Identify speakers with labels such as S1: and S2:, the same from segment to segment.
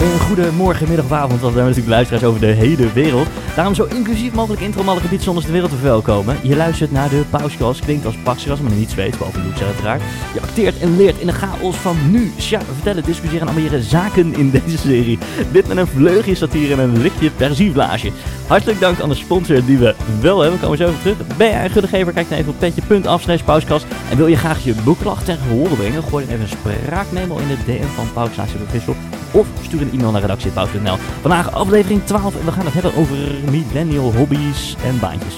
S1: goedemorgen, middag of avond, want we hebben natuurlijk luisteraars over de hele wereld. Daarom zo inclusief mogelijk intro om alle gebieden zonder de wereld te verwelkomen. Je luistert naar de pauskast, klinkt als pakskas, maar niet zweet, behalve Loeks uiteraard. Je acteert en leert in de chaos van nu. Tja, we vertellen, discussiëren en ambiëren zaken in deze serie. Dit met een vleugje satire en een likje persievlaasje. Hartelijk dank aan de sponsor die we wel hebben, komen we zo even terug. Ben jij een gunnegever, kijk dan even op petje.af slash pauskast. En wil je graag je boekklacht tegen horen brengen, gooi dan even een spraakmemo in de DM van Pauksnaasje Vissel of stuur een e-mail naar redactie.pauw.nl. Vandaag aflevering 12 en we gaan het hebben over millennial hobby's en baantjes.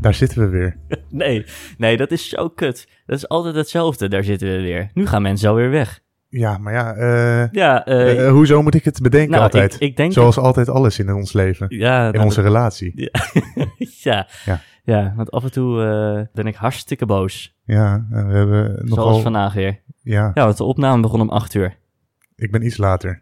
S2: Daar zitten we weer.
S1: Nee, nee, dat is zo kut. Dat is altijd hetzelfde, daar zitten we weer. Nu gaan mensen alweer weg.
S2: Ja, maar ja, eh,
S1: Ja, eh,
S2: eh, hoezo moet ik het bedenken
S1: nou,
S2: altijd?
S1: Ik, ik denk...
S2: Zoals altijd alles in ons leven.
S1: ja,
S2: In
S1: nou,
S2: onze relatie.
S1: dat- ja, ja.
S2: Ja.
S1: want af en toe eh, ben ik hartstikke boos.
S2: Ja, en we hebben
S1: Zoals
S2: nogal...
S1: vandaag weer.
S2: Ja,
S1: Ja, want de opname begon om 8 uur.
S2: ik ben iets later.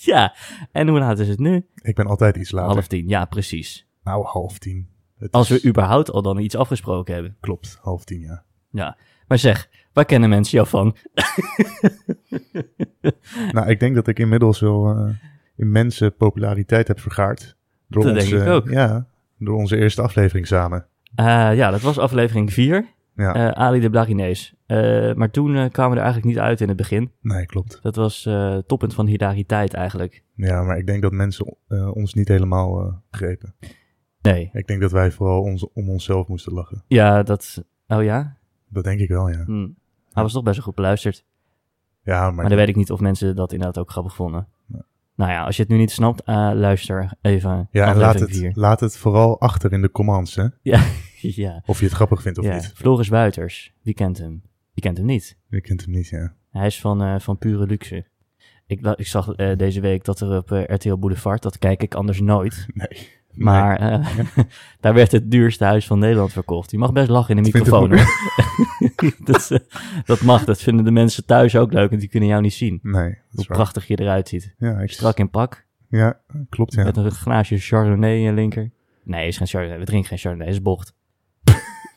S1: ja, en hoe laat is het nu?
S2: Ik ben altijd iets later.
S1: Half tien, ja precies.
S2: Nou, half tien. Het
S1: Als
S2: is-
S1: we überhaupt al dan iets afgesproken hebben.
S2: Klopt, half tien, ja.
S1: Maar zeg, waar kennen mensen jou van?
S2: Nou, ik denk dat ik inmiddels wel eh, immense populariteit heb vergaard. Door
S1: Dat denk
S2: onze,
S1: ik ook.
S2: Ja, door onze eerste aflevering samen.
S1: Eh, ja, dat was aflevering 4,
S2: Ja,
S1: eh, Ali de Blarinees. Eh, maar toen eh, kwamen we er eigenlijk niet uit in het begin.
S2: nee, klopt.
S1: Dat was eh toppunt van hilariteit eigenlijk.
S2: Ja, maar ik denk dat mensen eh, ons niet helemaal eh, begrepen.
S1: Nee,
S2: Ik denk dat wij vooral ons, om onszelf moesten lachen.
S1: ja, dat... Oh ja?
S2: Dat denk ik wel, ja.
S1: Hm. Hij was toch best wel goed beluisterd.
S2: Ja,
S1: Maar
S2: maar,
S1: dan weet ik niet of mensen dat inderdaad ook grappig vonden.
S2: Nee.
S1: Nou ja, als je het nu niet snapt, eh, luister even
S2: ja, en laat
S1: aflevering
S2: het, laat het vooral achter in de comments, hè.
S1: 4. Ja,
S2: Of je het grappig vindt of
S1: ja.
S2: niet.
S1: Floris Buiters, wie kent hem? Wie kent hem niet?
S2: Je kent hem niet, ja.
S1: Hij is van, eh, van pure luxe. Ik, la- ik zag eh, deze week dat er op eh, RTL Boulevard, dat kijk ik anders nooit.
S2: Nee.
S1: Maar eh, daar werd het duurste huis van Nederland verkocht. Je mag best lachen in de
S2: Dat vind ik
S1: microfoon. hoor. dat, is, eh, dat mag, dat vinden de mensen thuis ook leuk, want die kunnen jou niet zien.
S2: Nee, nee dat
S1: Hoe
S2: is waar.
S1: prachtig je eruit ziet.
S2: Ja, ik,
S1: Strak in pak,
S2: ja, klopt, ja.
S1: met een glaasje Chardonnay in je linker. Nee, is geen Chardonnay. We drinken geen Chardonnay, is bocht.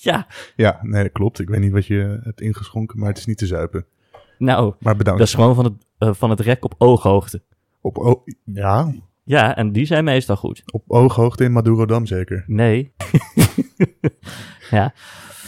S1: ja,
S2: Ja, nee, dat klopt. Ik weet niet wat je hebt ingeschonken, maar het is niet te zuipen.
S1: nou,
S2: Maar bedankt.
S1: dat is gewoon van het, eh, van het rek op ooghoogte.
S2: Op, o- ja,
S1: Ja, en die zijn meestal goed.
S2: op ooghoogte in Madurodam zeker.
S1: Nee.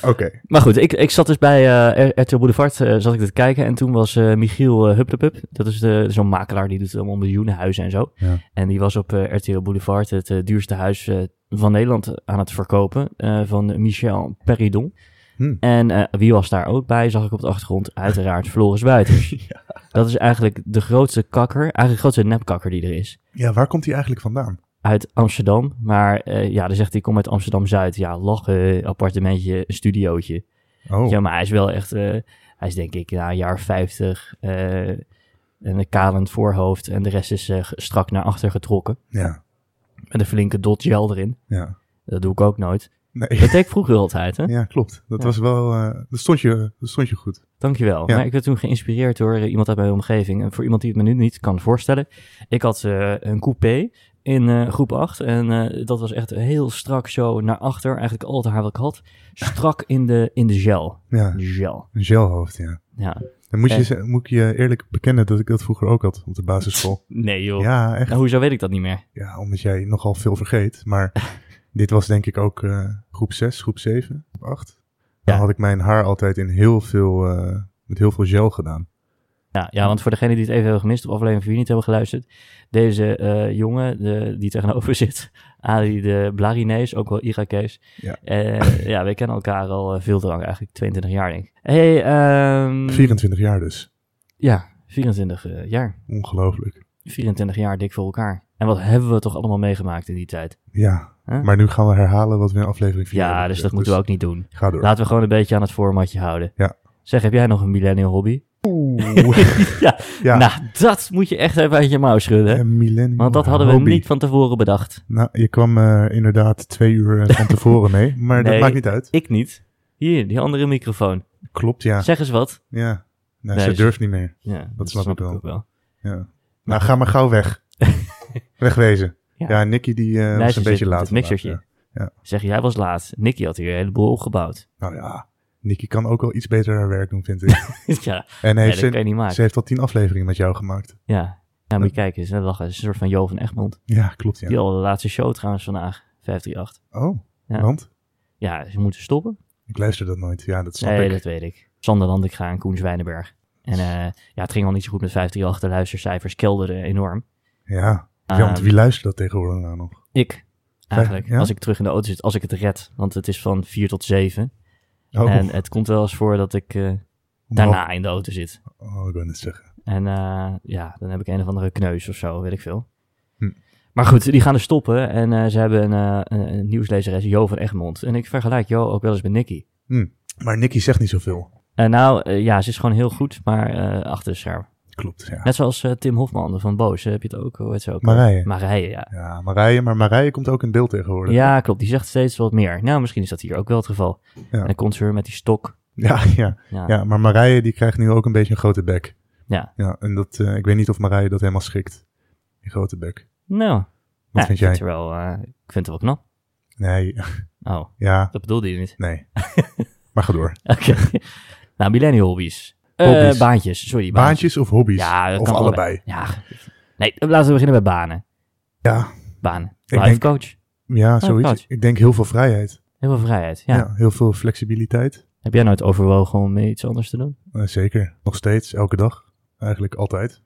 S2: Oké,
S1: Maar goed, ik, ik zat dus bij eh, R- RTL Boulevard, eh, zat ik te kijken. En toen was eh, Michiel eh Hupplepup, dat is de- zo'n makelaar, die doet allemaal miljoenen huizen en zo.
S2: Ja.
S1: En die was op eh, RTL Boulevard het eh, duurste huis eh, van Nederland aan het verkopen eh, van Michel Peridon.
S2: Hm.
S1: En eh, wie was daar ook bij, zag ik op de achtergrond, uiteraard Floris Buiters. Dat is eigenlijk de grootste kakker, eigenlijk de grootste nepkakker die er is.
S2: ja, waar komt hij eigenlijk vandaan?
S1: uit Amsterdam. Maar eh, ja, dan zegt hij, kom uit Amsterdam-Zuid. Ja, lachen, appartementje, studiootje.
S2: Oh,
S1: Ja, maar hij is wel echt... eh, hij is denk ik na een jaar 50 eh, en een kalend voorhoofd. En de rest is eh, strak naar achter getrokken.
S2: ja,
S1: Met een flinke dot gel erin.
S2: ja.
S1: Dat doe ik ook nooit.
S2: Nee,
S1: Dat deed ik vroeger altijd, hè?
S2: ja, klopt. Dat
S1: Ja.
S2: was wel, eh, dat, stond je, dat stond je goed.
S1: Dankjewel.
S2: Ja.
S1: Maar ik werd toen geïnspireerd door eh, iemand uit mijn omgeving. En voor iemand die het me nu niet kan voorstellen. Ik had eh, een coupé in eh, groep 8. En eh, dat was echt heel strak zo naar achter. Eigenlijk al het haar wat ik had. Strak in de, in de gel.
S2: Ja,
S1: Gel.
S2: een gelhoofd, ja.
S1: Ja.
S2: Dan moet, je,
S1: Eh.
S2: ze- moet ik je eerlijk bekennen dat ik dat vroeger ook had op de basisschool.
S1: Nee joh.
S2: Ja, echt.
S1: Nou, hoezo weet ik dat niet meer?
S2: Ja, omdat jij nogal veel vergeet. Maar dit was denk ik ook eh, groep 6, groep 7, groep 8. Dan
S1: Ja.
S2: had ik mijn haar altijd in heel veel, eh, met heel veel gel gedaan.
S1: Ja, Nou, ja, want voor degenen die het even hebben gemist of aflevering 4 niet hebben geluisterd. Deze eh, jongen de, die tegenover zit, Ali de Blarinees, ook wel Irakees.
S2: Ja.
S1: Eh, ja, we kennen elkaar al eh, veel te lang, eigenlijk 22 jaar denk ik. Hey, ehm
S2: 24 jaar dus.
S1: Ja, 24 eh, jaar.
S2: Ongelooflijk.
S1: 24 jaar dik voor elkaar. En wat hebben we toch allemaal meegemaakt in die tijd?
S2: Ja,
S1: Huh?
S2: maar nu gaan we herhalen wat we in aflevering 4
S1: Ja, dus dat moeten we Nou, ook niet doen.
S2: Ga door.
S1: Laten we gewoon een beetje aan het formatje houden.
S2: Ja.
S1: Zeg, heb jij nog een millennial hobby?
S2: Oeh.
S1: ja,
S2: ja,
S1: nou, dat moet je echt even uit je mouw schudden. hè?
S2: een millennium
S1: Want dat hadden we
S2: hobby.
S1: niet van tevoren bedacht.
S2: Nou, je kwam eh, inderdaad twee uur eh, van tevoren mee, maar
S1: Nee.
S2: dat maakt niet uit.
S1: Ik niet. Hier, die andere microfoon.
S2: Klopt, ja.
S1: Zeg eens wat.
S2: ja. Nou,
S1: Nee,
S2: ze
S1: dus-
S2: durft niet meer.
S1: Ja,
S2: snap ik wel.
S1: wel.
S2: Ja. Nou, ga maar gauw weg. Wegwezen.
S1: Ja.
S2: Ja, Nicky die eh,
S1: Meisje
S2: was een beetje
S1: zit met
S2: laat.
S1: het mixertje.
S2: vandaag, Ja.
S1: Zeg, jij was laat. Nicky had hier een heleboel opgebouwd.
S2: Nou ja, Nicky kan ook wel iets beter haar werk doen, vind ik.
S1: ja,
S2: En
S1: nee,
S2: heeft
S1: dat kan je
S2: ze,
S1: niet maken.
S2: ze heeft al tien afleveringen met jou gemaakt.
S1: Ja. ja, moet je kijken. Ze lachen. Het is een soort van Jo van Egmond.
S2: Ja, klopt ja.
S1: Die al de laatste show trouwens vandaag, 538.
S2: Oh,
S1: Ja.
S2: want?
S1: Ja, ze moeten stoppen.
S2: Ik luister dat nooit. Ja, dat snap
S1: Nee,
S2: ik.
S1: dat weet ik. Sander Landekra en Koen Zwijnenberg. En eh, ja, het ging al niet zo goed met 538. De luistercijfers kelderden enorm.
S2: Ja. ja, want
S1: Ehm,
S2: wie luistert dat tegenwoordig nou nog?
S1: Ik, eigenlijk.
S2: ja?
S1: Als ik terug in de auto zit, als ik het red. Want het is van 4 tot 7.
S2: Oh,
S1: En het komt wel eens voor dat ik eh, daarna in de auto zit.
S2: Oh, ik wil net zeggen.
S1: En eh, ja, dan heb ik een of andere kneus of zo, weet ik veel.
S2: Hm.
S1: Maar goed, die gaan er stoppen en eh, ze hebben een, eh, een, een nieuwslezeres, Jo van Egmond. En ik vergelijk Jo ook wel eens met Nicky.
S2: Maar Nicky zegt niet zoveel.
S1: En nou, eh, ja, ze is gewoon heel goed, maar eh, achter de scherm.
S2: Klopt, ja.
S1: Net zoals eh, Tim Hofman van Boos, eh, heb je het ook, hoe heet ze ook?
S2: Marije.
S1: Marije, ja.
S2: Ja, Marije, maar Marije komt ook in beeld tegenwoordig.
S1: Ja, klopt, die zegt steeds wat meer. Nou, misschien is dat hier ook wel het geval.
S2: Ja.
S1: En dan komt ze weer met die stok.
S2: Ja, ja,
S1: Ja,
S2: ja. Maar Marije die krijgt nu ook een beetje een grote bek.
S1: Ja.
S2: ja en dat, eh, ik weet niet of Marije dat helemaal schikt. Die grote bek.
S1: nou, wat
S2: Wat vind jij?
S1: wel, eh, ik vind het wel knap.
S2: Nee,
S1: Oh,
S2: ja,
S1: dat bedoelde je niet.
S2: nee. maar ga door.
S1: Oké. nou, millennial hobby's. Eh,
S2: Hobby's.
S1: baantjes, sorry.
S2: Baantjes of hobby's?
S1: Ja, dat
S2: of
S1: kan
S2: allebei.
S1: Ja. Nee, laten we beginnen bij banen.
S2: Ja,
S1: Banen.
S2: Ik
S1: Life
S2: denk-
S1: coach.
S2: ja zoiets.
S1: coach.
S2: ik denk heel veel vrijheid.
S1: Heel veel vrijheid. Oh, Ja.
S2: Ja. heel veel flexibiliteit.
S1: Heb jij nooit overwogen om iets anders te doen?
S2: Eh, zeker. Nog steeds, elke dag. Eigenlijk altijd.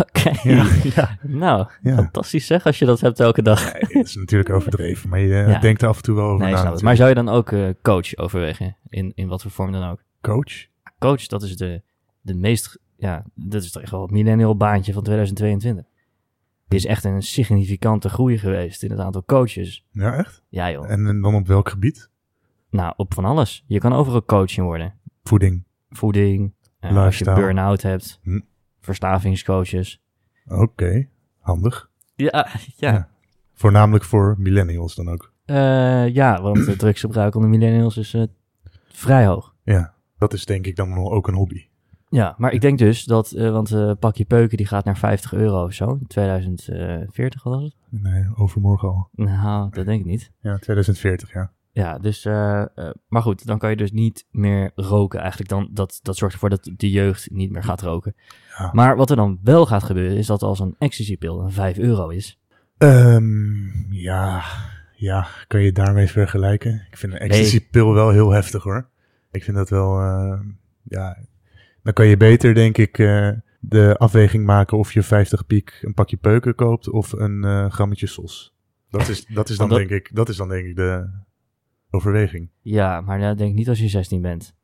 S1: Oké.
S2: Ja, ja,
S1: Nou,
S2: ja.
S1: fantastisch zeg als je dat hebt elke dag.
S2: Nee, dat is natuurlijk overdreven, maar je eh,
S1: Ja.
S2: denkt er af en toe wel over
S1: Nee,
S2: na.
S1: snap het. Maar zou je dan ook eh, coach overwegen? In, in wat voor vorm dan ook?
S2: Coach?
S1: Coach, dat is de, de meest... Ja, dat is toch echt wel het millennial baantje van 2022. Er is echt een significante groei geweest in het aantal coaches.
S2: Ja, echt?
S1: Ja joh.
S2: En, en dan op welk gebied?
S1: Nou, op van alles. Je kan overal coach in worden.
S2: Voeding.
S1: voeding, eh, als je
S2: Lifestyle.
S1: burn-out hebt,
S2: Hm.
S1: verstavingscoaches.
S2: Oké, handig.
S1: Ja,
S2: Ja. Voornamelijk voor millennials dan ook.
S1: Eh, ja, want het drugsgebruik onder millennials is eh, vrij hoog.
S2: Ja, dat is denk ik dan wel ook een hobby.
S1: Ja, maar ik denk dus dat, eh, want eh pakje peuken die gaat naar 50 euro of zo, 2040 was het?
S2: Nee, overmorgen al.
S1: Nou, dat denk ik niet.
S2: Ja, 2040, ja.
S1: Ja, dus, eh, eh, maar goed, dan kan je dus niet meer roken eigenlijk. Dan, dat, dat zorgt ervoor dat de jeugd niet meer gaat roken.
S2: Ja.
S1: Maar wat er dan wel gaat gebeuren, is dat als een ecstasypil een 5 euro is,
S2: Ehm, ja, ja, kan je het daarmee vergelijken? Ik vind een ecstasy-pil wel heel heftig hoor. Ik vind dat wel, eh, ja, dan kan je beter denk ik eh, de afweging maken of je 50 piek een pakje peuken koopt of een eh, grammetje sos. Dat is, dat is dan
S1: Omdat-
S2: denk ik, dat is dan denk ik de overweging.
S1: Ja, maar dat denk ik niet als je 16 bent.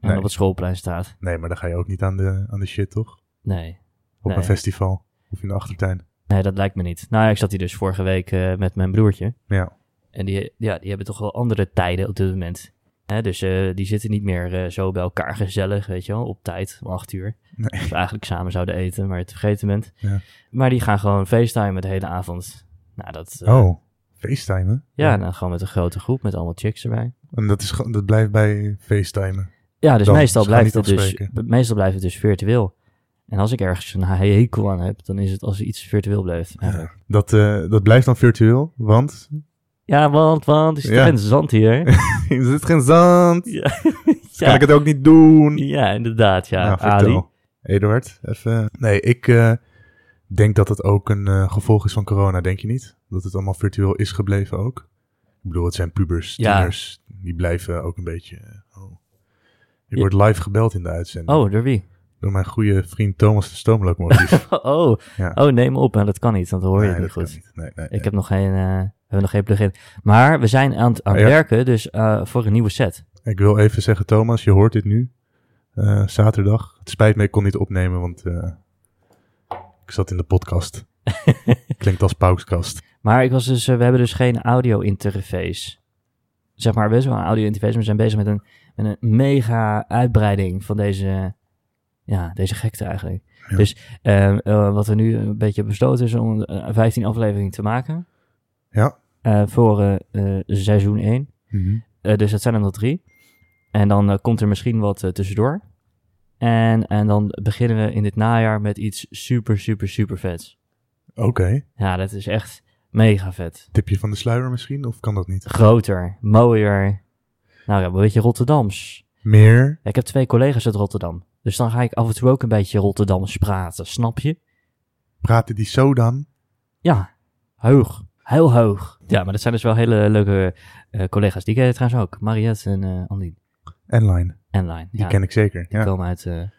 S1: En
S2: Nee.
S1: op het schoolplein staat.
S2: Nee, maar dan ga je ook niet aan de, aan de shit toch?
S1: Nee.
S2: Op
S1: Nee.
S2: een festival of in de achtertuin.
S1: Nee, dat lijkt me niet. Nou ja, ik zat hier dus vorige week eh, met mijn broertje.
S2: Ja.
S1: En die, ja, die hebben toch wel andere tijden op dit moment. Hè, dus eh, die zitten niet meer eh, zo bij elkaar gezellig, weet je wel, op tijd, om acht uur.
S2: Nee.
S1: Dat we eigenlijk samen zouden eten, maar je het vergeten bent.
S2: Ja.
S1: Maar die gaan gewoon facetimen de hele avond. Nou, dat... eh,
S2: Oh, facetimen?
S1: Ja, dan gewoon met een grote groep, met allemaal chicks erbij.
S2: En dat, is, gewoon- dat blijft bij facetimen.
S1: Ja, dus
S2: Dan
S1: meestal
S2: ze gaan
S1: blijft, het
S2: niet
S1: dus,
S2: afspreken.
S1: meestal blijft het dus virtueel. En als ik ergens een hekel aan heb, dan is het als er iets virtueel blijft. eigenlijk.
S2: Dat, eh, dat blijft dan virtueel, want
S1: Ja, want, want, is het
S2: Ja.
S1: geen zand hier?
S2: Er zit geen zand.
S1: ja.
S2: Dus kan ik het ook niet doen.
S1: ja, inderdaad, ja.
S2: Nou,
S1: Ali.
S2: vertel. Eduard, even. Nee, ik eh, denk dat het ook een eh, gevolg is van corona, denk je niet? Dat het allemaal virtueel is gebleven ook? Ik bedoel, het zijn pubers,
S1: Ja.
S2: tieners. Die blijven ook een beetje... eh, Oh.
S1: Ja.
S2: Ik word live gebeld in de uitzending.
S1: Oh, door wie?
S2: Door mijn goede vriend Thomas de Stoomlocomotief.
S1: Oh,
S2: Ja.
S1: oh neem op. En dat kan niet, want dan hoor je
S2: Nee,
S1: het niet
S2: dat kan
S1: goed.
S2: niet. Nee, nee, nee.
S1: Ik heb nog geen, eh, we hebben nog geen plugin. Maar we zijn aan het, aan het
S2: Ah, Ja.
S1: werken, dus eh, voor een nieuwe set.
S2: Ik wil even zeggen, Thomas, je hoort dit nu. Eh, zaterdag. Het spijt me, ik kon niet opnemen, want eh, ik zat in de podcast. Klinkt als paukskast.
S1: Maar ik was dus, eh, we hebben dus geen audio interface. Zeg maar, best wel een audio interface, maar we zijn bezig met een, met een mega uitbreiding van deze, ja, deze gekte eigenlijk.
S2: Ja.
S1: Dus eh, eh, wat er nu een beetje besloten is om een eh, 15 aflevering te maken.
S2: Ja.
S1: Eh, voor eh, eh, seizoen 1.
S2: Mhm.
S1: Eh, dus dat zijn er nog drie. En dan eh, komt er misschien wat eh, tussendoor. En, en dan beginnen we in dit najaar met iets super, super, super vets.
S2: Oké.
S1: Ja, dat is echt. Mega vet.
S2: Tipje van de sluier misschien? Of kan dat niet?
S1: Groter, mooier. Nou ja, een beetje Rotterdams.
S2: Meer?
S1: Ja, ik heb twee collega's uit Rotterdam. Dus dan ga ik af en toe ook een beetje Rotterdams praten, snap je?
S2: Praten die zo dan?
S1: Ja, hoog. Heel hoog. Ja, maar dat zijn dus wel hele leuke eh, collega's. Die ken je trouwens ook. Mariette en eh Andien.
S2: Enline.
S1: En Lijn.
S2: Die
S1: ja,
S2: ken ik zeker.
S1: die
S2: Ja.
S1: komen uit, eh,
S2: Ja,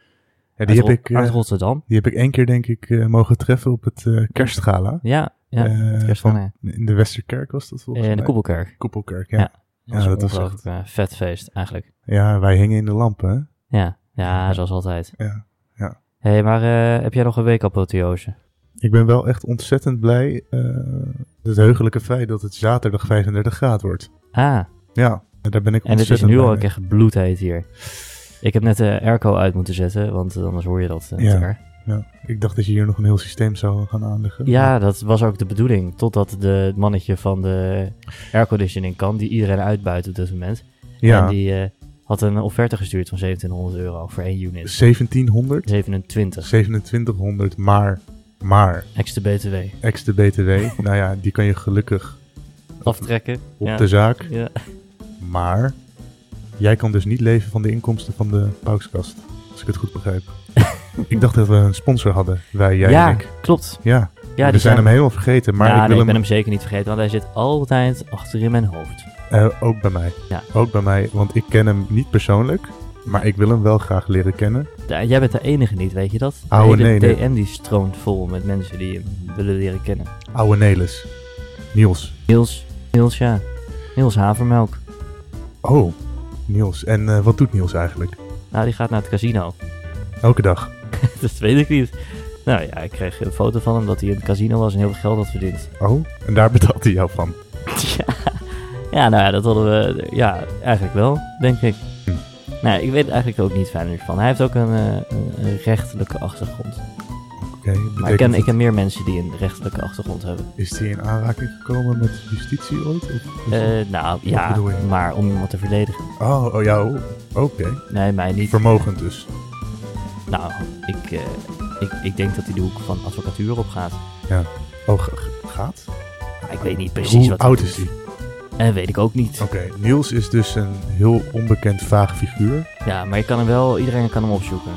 S1: uit
S2: die, heb
S1: Ro-
S2: ik, eh,
S1: uit Rotterdam.
S2: die heb ik één keer denk ik eh, mogen treffen op het eh kerstgala.
S1: Ja, ja.
S2: Eh,
S1: het kerst van,
S2: van- in de Westerkerk was dat volgens
S1: eh, in de
S2: mij.
S1: Koepelkerk.
S2: Koepelkerk, ja.
S1: Ja. Dat
S2: ja.
S1: was een
S2: dat was
S1: ongelooflijk eh, vet feest eigenlijk.
S2: wij hingen in de lampen.
S1: Ja, ja zoals altijd.
S2: Ja, ja.
S1: Hé, hey, maar eh, heb jij nog een week apotheose?
S2: Ik ben wel echt ontzettend blij. eh het heugelijke feit dat het zaterdag 35 graden wordt.
S1: Ah,
S2: Ja, daar ben ik
S1: en het is
S2: ontzettend
S1: nu
S2: blij
S1: al
S2: mee.
S1: echt bloedheet hier. Ik heb net de airco uit moeten zetten, want anders hoor je dat. eh,
S2: Ja.
S1: elkaar.
S2: Ja, ik dacht dat je hier nog een heel systeem zou gaan aanleggen.
S1: Ja, dat was ook de bedoeling. Totdat de, het mannetje van de airconditioning kan, die iedereen uitbuit op dit moment.
S2: ja
S1: En die eh, had een offerte gestuurd van 1700 euro voor één
S2: Dus-
S1: unit.
S2: 1700,
S1: 27,
S2: 2700, maar, maar,
S1: ex de BTW.
S2: ex de BTW. nou ja, die kan je gelukkig
S1: Aftrekken.
S2: op
S1: ja.
S2: de zaak.
S1: Ja.
S2: Maar, jij kan dus niet leven van de inkomsten van de paukskast. Als ik het goed begrijp. ik dacht dat we een sponsor hadden, wij, jij
S1: Ja,
S2: en ik.
S1: klopt.
S2: Ja,
S1: Ja,
S2: we
S1: die
S2: zijn hem helemaal vergeten, maar
S1: ja,
S2: ik
S1: nee,
S2: wil
S1: ik ben
S2: hem,
S1: hem zeker niet vergeten, want hij zit altijd achter in mijn hoofd.
S2: eh, ook bij mij.
S1: Ja.
S2: Ook bij mij, want ik ken hem niet persoonlijk, maar ik wil hem wel graag leren kennen.
S1: Ja, jij bent de enige niet, weet je dat? De
S2: Oude
S1: hele
S2: nee,
S1: DM die stroomt vol met mensen die hem willen leren kennen.
S2: Oude Nelis. Niels.
S1: Niels, Niels, ja. Niels Havermelk.
S2: Oh, Niels. En eh, wat doet Niels eigenlijk?
S1: Nou, die gaat naar het casino.
S2: Elke dag.
S1: dat weet ik niet. Nou ja, ik kreeg een foto van hem dat hij in het casino was en heel veel geld had verdiend.
S2: Oh, en daar betaalt hij jou van.
S1: ja. ja, nou ja, dat hadden we... Ja, eigenlijk wel, denk ik.
S2: Hm.
S1: Nou, ik weet er eigenlijk ook niet verder van. Hij heeft ook een, eh, een- een rechtelijke achtergrond.
S2: Oké,
S1: Maar ik ken,
S2: betekent
S1: ik ken meer mensen die een rechtelijke achtergrond hebben.
S2: dat- Is hij in aanraking gekomen met justitie ooit? Of- of-
S1: Eh, nou ja,
S2: bedoel je?
S1: maar om iemand te verdedigen.
S2: Oh, oh ja, oh, oké.
S1: Nee, mij niet.
S2: Vermogend dus.
S1: Nou, ik, eh, ik, ik denk dat hij de hoek van advocatuur op gaat.
S2: Oh, g- g- gaat?
S1: Maar ik weet niet precies
S2: Hoe
S1: wat.
S2: oud is hij? Oh.
S1: En weet ik ook niet.
S2: Oké, Niels is dus een heel onbekend vaag figuur.
S1: Ja, maar je kan hem wel, iedereen kan hem opzoeken.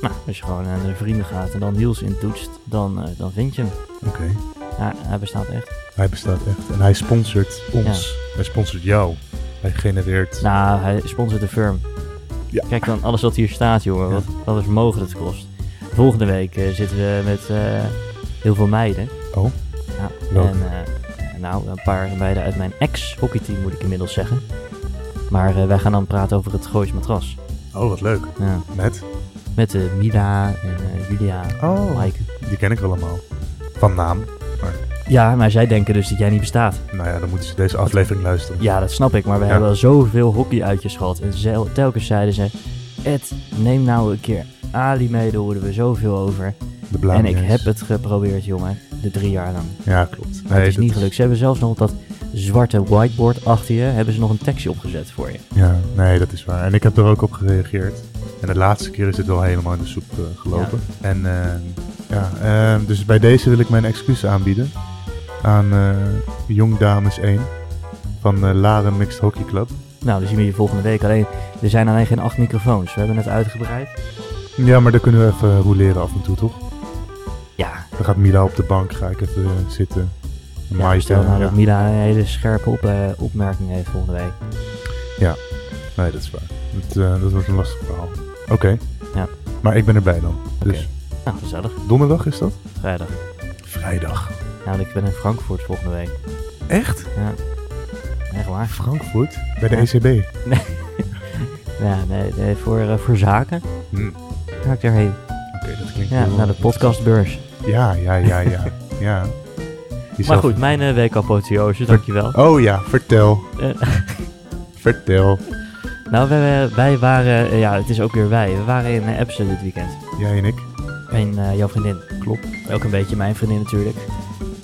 S1: Nou, als je gewoon naar de vrienden gaat en dan Niels intoetst, dan, eh, dan vind je hem.
S2: Oké,
S1: Ja, hij bestaat echt.
S2: hij bestaat echt. En hij sponsort ons. Hij sponsort jou. Hij genereert...
S1: Nou, hij sponsort de firm.
S2: Ja.
S1: Kijk dan alles wat hier staat, jongen.
S2: Ja.
S1: Wat, wat een vermogen dat kost. Volgende week eh, zitten we met eh, heel veel meiden.
S2: Oh.
S1: Ja,
S2: Welke?
S1: en eh, nou, een paar meiden uit mijn ex-hockeyteam moet ik inmiddels zeggen. Maar eh, wij gaan dan praten over het Goois matras.
S2: Oh, wat leuk.
S1: Ja.
S2: Met?
S1: Met eh, Mila en eh, Julia en
S2: Oh.
S1: Maaike.
S2: Die ken ik allemaal. Van naam.
S1: Ja, maar zij denken dus dat jij niet bestaat.
S2: Nou ja, dan moeten ze deze aflevering luisteren.
S1: Ja, dat snap ik, maar we
S2: Ja.
S1: hebben al zoveel hockeyuitjes gehad. En zel- telkens zeiden ze: Ed, neem nou een keer Ali mee, daar hoorden we zoveel over.
S2: De blauwe
S1: en ik
S2: neus.
S1: heb het geprobeerd, jongen, de drie jaar lang.
S2: Ja, klopt. Nee,
S1: Maar het is
S2: dat
S1: niet gelukt. Ze hebben zelfs nog op dat zwarte whiteboard achter je, hebben ze nog een tekstje opgezet voor je.
S2: Ja, nee, dat is waar. En ik heb er ook op gereageerd. En de laatste keer is het wel helemaal in de soep eh, gelopen. En ehm, ja, ehm, dus bij deze wil ik mijn excuus aanbieden aan eh Jong Dames 1 van eh Laren Mixed Hockey Club.
S1: Nou, dan zien we je volgende week. Alleen, er zijn alleen geen acht microfoons. We hebben het uitgebreid.
S2: Ja, maar daar kunnen we even rouleren af en toe, toch?
S1: Ja,
S2: Dan gaat Mila op de bank, ga ik even eh, zitten. En
S1: ja
S2: Maaike,
S1: stel nou
S2: ja.
S1: dat Mila een hele scherpe op, eh, opmerking heeft volgende week.
S2: Nee, dat is waar. Dat, eh, dat wordt een lastig verhaal. Oké.
S1: Ja.
S2: Maar ik ben erbij dan. Dus
S1: Nou, gezellig.
S2: donderdag is dat?
S1: Vrijdag.
S2: Vrijdag.
S1: Nou, ik ben in Frankfurt volgende week.
S2: Echt?
S1: Echt waar.
S2: Frankfurt? Bij de E
S1: Ja.
S2: ECB?
S1: Ja, nee, nee, voor, eh, voor zaken
S2: Hm.
S1: ga ik daarheen.
S2: Oké, dat klinkt
S1: Ja,
S2: heel-
S1: naar de podcastbeurs.
S2: Ja, ja, ja, ja. ja. Jezelf-
S1: Maar goed, mijn eh, week apotheose, dankjewel.
S2: Oh ja, vertel.
S1: Eh,
S2: Vertel.
S1: nou, wij, wij waren, eh, ja, het is ook weer wij. We waren in eh, Epsom dit weekend.
S2: Jij en ik.
S1: En eh, jouw vriendin.
S2: Klopt.
S1: Ook een beetje mijn vriendin natuurlijk.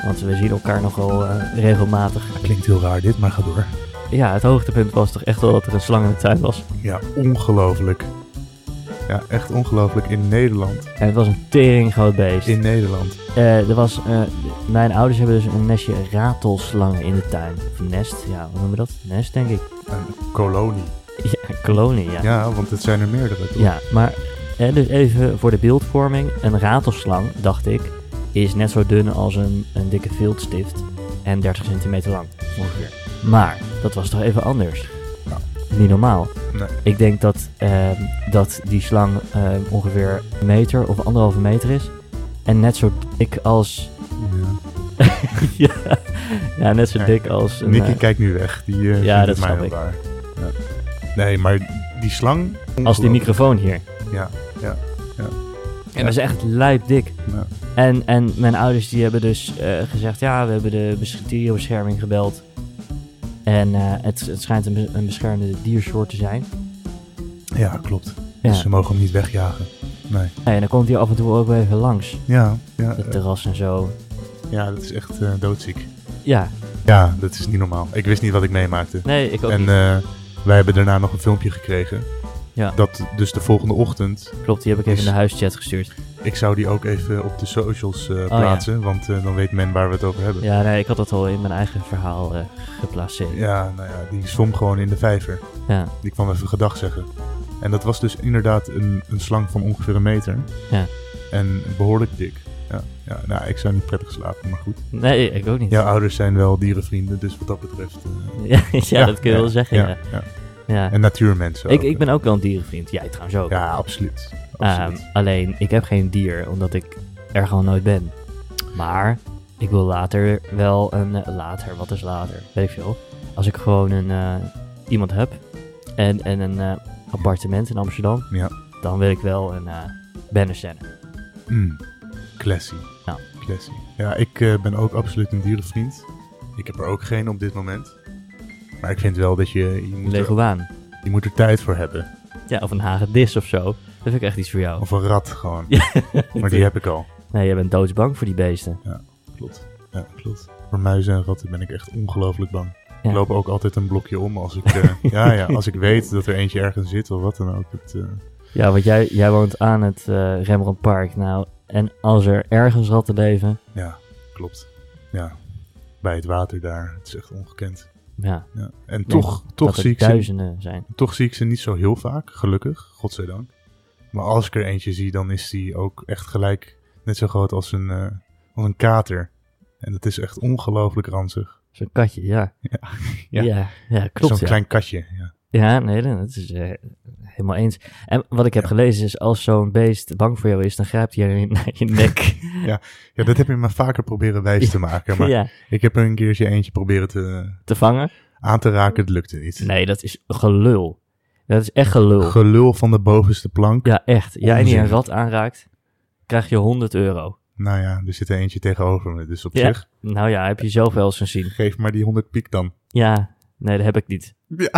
S1: Want we zien elkaar nogal eh, regelmatig.
S2: Dat klinkt heel raar dit, maar ga door.
S1: Ja, het hoogtepunt was toch echt wel dat er een slang in de tuin was.
S2: Ja, ongelooflijk. Ja, echt ongelooflijk. In Nederland.
S1: En het was een tering groot beest.
S2: In Nederland.
S1: Eh, er was, eh, mijn ouders hebben dus een nestje ratelslangen in de tuin. Of een nest, ja, hoe noem je dat? Nest, denk ik.
S2: Een kolonie.
S1: Ja, een kolonie, ja.
S2: Ja, want het zijn er meerdere. toch?
S1: Ja, maar eh, dus even voor de beeldvorming. Een ratelslang, dacht ik, is net zo dun als een, een dikke viltstift en 30 centimeter lang ongeveer. Maar dat was toch even anders?
S2: Nou.
S1: Niet normaal.
S2: Nee.
S1: Ik denk dat, ehm, dat die slang ehm, ongeveer een meter of anderhalve meter is. En net zo dik als.
S2: Ja.
S1: ja, ja, net zo
S2: Nee.
S1: dik als. Een,
S2: Nicky
S1: eh,
S2: kijkt nu weg. Die eh,
S1: Ja,
S2: vindt
S1: dat
S2: het mij
S1: snap
S2: heel
S1: ik.
S2: raar. Ja. Nee, maar die slang...
S1: als die
S2: ongelooflijk.
S1: microfoon hier.
S2: Ja, ja, ja.
S1: En dat is echt lijpdik.
S2: Ja.
S1: En, en mijn ouders die hebben dus eh, gezegd, ja, we hebben de bes- dierenbescherming gebeld. En eh, het, het schijnt een, be- een beschermde diersoort te zijn.
S2: Ja, klopt.
S1: Ja.
S2: Dus ze mogen hem niet wegjagen. Nee.
S1: En dan komt hij af en toe ook wel even langs.
S2: Ja, ja,
S1: Het
S2: eh,
S1: terras en zo.
S2: ja dat is echt eh, doodziek.
S1: Ja,
S2: Ja, dat is niet normaal. Ik wist niet wat ik meemaakte.
S1: nee, ik ook
S2: En
S1: niet.
S2: eh, wij hebben daarna nog een filmpje gekregen.
S1: Ja.
S2: Dat dus de volgende ochtend.
S1: Klopt, die heb ik even
S2: eh, is-
S1: in de huischat gestuurd.
S2: Ik zou die ook even op de socials eh,
S1: Oh, ja.
S2: plaatsen. Want eh, dan weet men waar we het over hebben.
S1: Ja, nee, ik had dat al in mijn eigen verhaal eh, geplaatst.
S2: Ja, nou ja, die zwom gewoon in de vijver.
S1: Ja.
S2: Die kwam even gedag zeggen. En dat was dus inderdaad een, een slang van ongeveer een meter.
S1: Ja.
S2: En behoorlijk dik. Ja, ja, nou, ik zou niet prettig slapen, maar goed.
S1: Nee, ik ook niet.
S2: Jouw ouders zijn wel dierenvrienden, dus wat dat betreft. eh,
S1: Ja, dat kun je wel zeggen, ja.
S2: ja, ja.
S1: ja.
S2: En natuurmensen.
S1: Ik,
S2: ook,
S1: ik
S2: eh.
S1: ben ook wel een dierenvriend. Jij trouwens ook.
S2: Ja, absoluut.
S1: Ehm,
S2: absoluut.
S1: alleen, ik heb geen dier, omdat ik er gewoon nooit ben. Maar ik wil later wel een... eh, Later, wat is later? Weet ik veel. Als ik gewoon een, eh, iemand heb en, en een eh, appartement in Amsterdam...
S2: Ja.
S1: dan wil ik wel een eh bannerstein.
S2: Mm. Classy.
S1: Ehm. Ja.
S2: Classy. Ja, ik eh, ben ook absoluut een dierenvriend. Ik heb er ook geen op dit moment. Maar ik vind wel dat je... Je
S1: Een
S2: moet, er,
S1: leguaan.
S2: je moet er tijd voor hebben.
S1: Ja, of een hagedis of zo. Dat vind ik echt iets voor jou.
S2: Of een rat gewoon.
S1: Ja.
S2: Maar die heb ik al.
S1: Nee, jij bent doodsbang voor die beesten.
S2: Klopt. Ja, klopt. Voor muizen en ratten ben ik echt ongelooflijk bang.
S1: Ja.
S2: Ik loop ook altijd een blokje om als ik, eh, ja, ja, als ik weet dat er eentje ergens zit of wat dan ook. Het, eh,
S1: Ja, want jij, jij woont aan het eh Rembrandtpark. Nou, en als er ergens ratten leven...
S2: ja, klopt. Ja, bij het water daar. Het is echt ongekend.
S1: Ja,
S2: Ja. En toch,
S1: dat
S2: toch,
S1: er
S2: zie ik ze,
S1: duizenden zijn.
S2: toch zie ik ze niet zo heel vaak, gelukkig. Godzijdank. Maar als ik er eentje zie, dan is die ook echt gelijk net zo groot als een, eh, als een kater. En dat is echt ongelooflijk ranzig.
S1: Zo'n katje, ja.
S2: Ja.
S1: ja. ja, klopt.
S2: Zo'n
S1: Ja.
S2: klein katje. Ja.
S1: ja, nee, nee, dat is eh, helemaal eens. En wat ik heb
S2: Ja.
S1: gelezen is, als zo'n beest bang voor jou is, dan grijpt hij je naar je nek.
S2: ja, dat heb je me vaker proberen wijs te maken. Maar
S1: ja,
S2: Ik heb er een keertje eentje proberen te,
S1: te vangen.
S2: aan te raken, het lukte niet.
S1: Nee, dat is gelul. Dat is echt gelul.
S2: Gelul van de bovenste plank.
S1: ja, echt. Jij die een
S2: Onzin.
S1: rat aanraakt, krijg je 100 euro.
S2: Nou ja, er zit er eentje tegenover me, dus op
S1: Ja.
S2: zich,
S1: Nou ja, heb je zelf wel eens gezien.
S2: geef maar die 100 piek dan.
S1: Ja, nee, dat heb ik niet.
S2: Ja,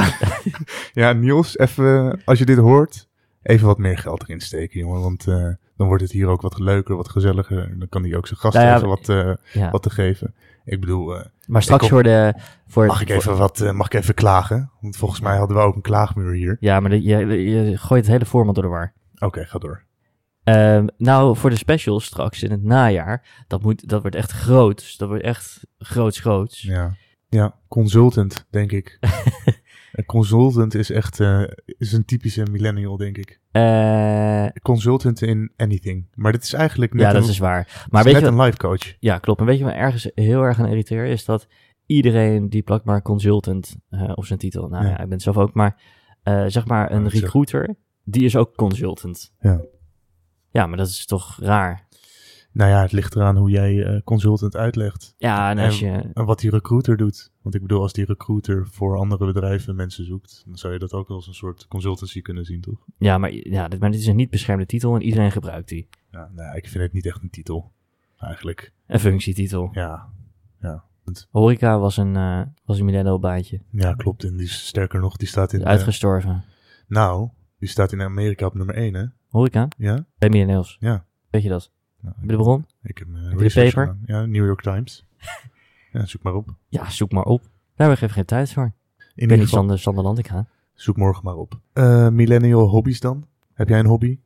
S2: ja Niels, even, als je dit hoort, even wat meer geld erin steken, jongen. Want eh, dan wordt het hier ook wat leuker, wat gezelliger. Dan kan hij ook zijn gast
S1: Nou ja,
S2: even wat, eh,
S1: Ja.
S2: wat te geven. Ik bedoel, eh,
S1: Maar straks
S2: kom-
S1: voor de... Voor,
S2: mag, ik
S1: voor-
S2: even wat, eh, mag ik even klagen? Want volgens mij hadden we ook een klaagmuur hier.
S1: ja, maar de- je, je gooit het hele format door de war.
S2: Oké, ga door.
S1: Ehm, nou, voor de specials straks in het najaar, dat, moet, dat wordt echt groot. Dus Dat wordt echt groots groots.
S2: Ja. ja, consultant, denk ik. een consultant is echt eh, is een typische millennial, denk ik.
S1: Eh,
S2: Consultant in anything. Maar dit is eigenlijk net,
S1: ja, dat
S2: een,
S1: is waar. Maar
S2: het is
S1: weet je
S2: net
S1: wat,
S2: een life coach.
S1: ja, klopt. En weet je wat ergens heel erg aan irriteer is? Dat iedereen die plakt maar consultant eh, op zijn titel. Nou ja,
S2: Ja.
S1: ik ben het zelf ook, maar eh, zeg maar
S2: Ja,
S1: een
S2: dat is ook-
S1: recruiter, die is ook consultant.
S2: Ja.
S1: Ja, maar dat is toch raar.
S2: Nou ja, het ligt eraan hoe jij eh, consultant uitlegt.
S1: Ja, en als je...
S2: En wat die recruiter doet. Want ik bedoel, als die recruiter voor andere bedrijven mensen zoekt, dan zou je dat ook als een soort consultancy kunnen zien, toch?
S1: Ja, maar, ja, dit, maar dit is een niet beschermde titel en iedereen gebruikt die.
S2: Ja, nou, ja, ik vind het niet echt een titel, eigenlijk.
S1: Een functietitel.
S2: Ja,
S1: Horeca was een, eh was een millennial-baantje.
S2: ja klopt. En die, is- sterker nog, die staat in... eh,
S1: Uitgestorven.
S2: nou, die staat in Amerika op nummer 1, hè?
S1: Horeca?
S2: Ja?
S1: Bij millennials.
S2: Ja.
S1: Weet je dat?
S2: Nou,
S1: Heb je de bron?
S2: Ik heb, eh,
S1: je de
S2: research
S1: paper?
S2: gedaan. Ja, New York Times. ja, zoek maar op.
S1: Ja, zoek maar op. Daar heb ik even geen tijd voor.
S2: In
S1: Ik ben
S2: ieder
S1: niet
S2: geval,
S1: Sander, Sander Land, ik ga.
S2: zoek morgen maar op. Eh, millennial hobby's dan? Heb jij een hobby?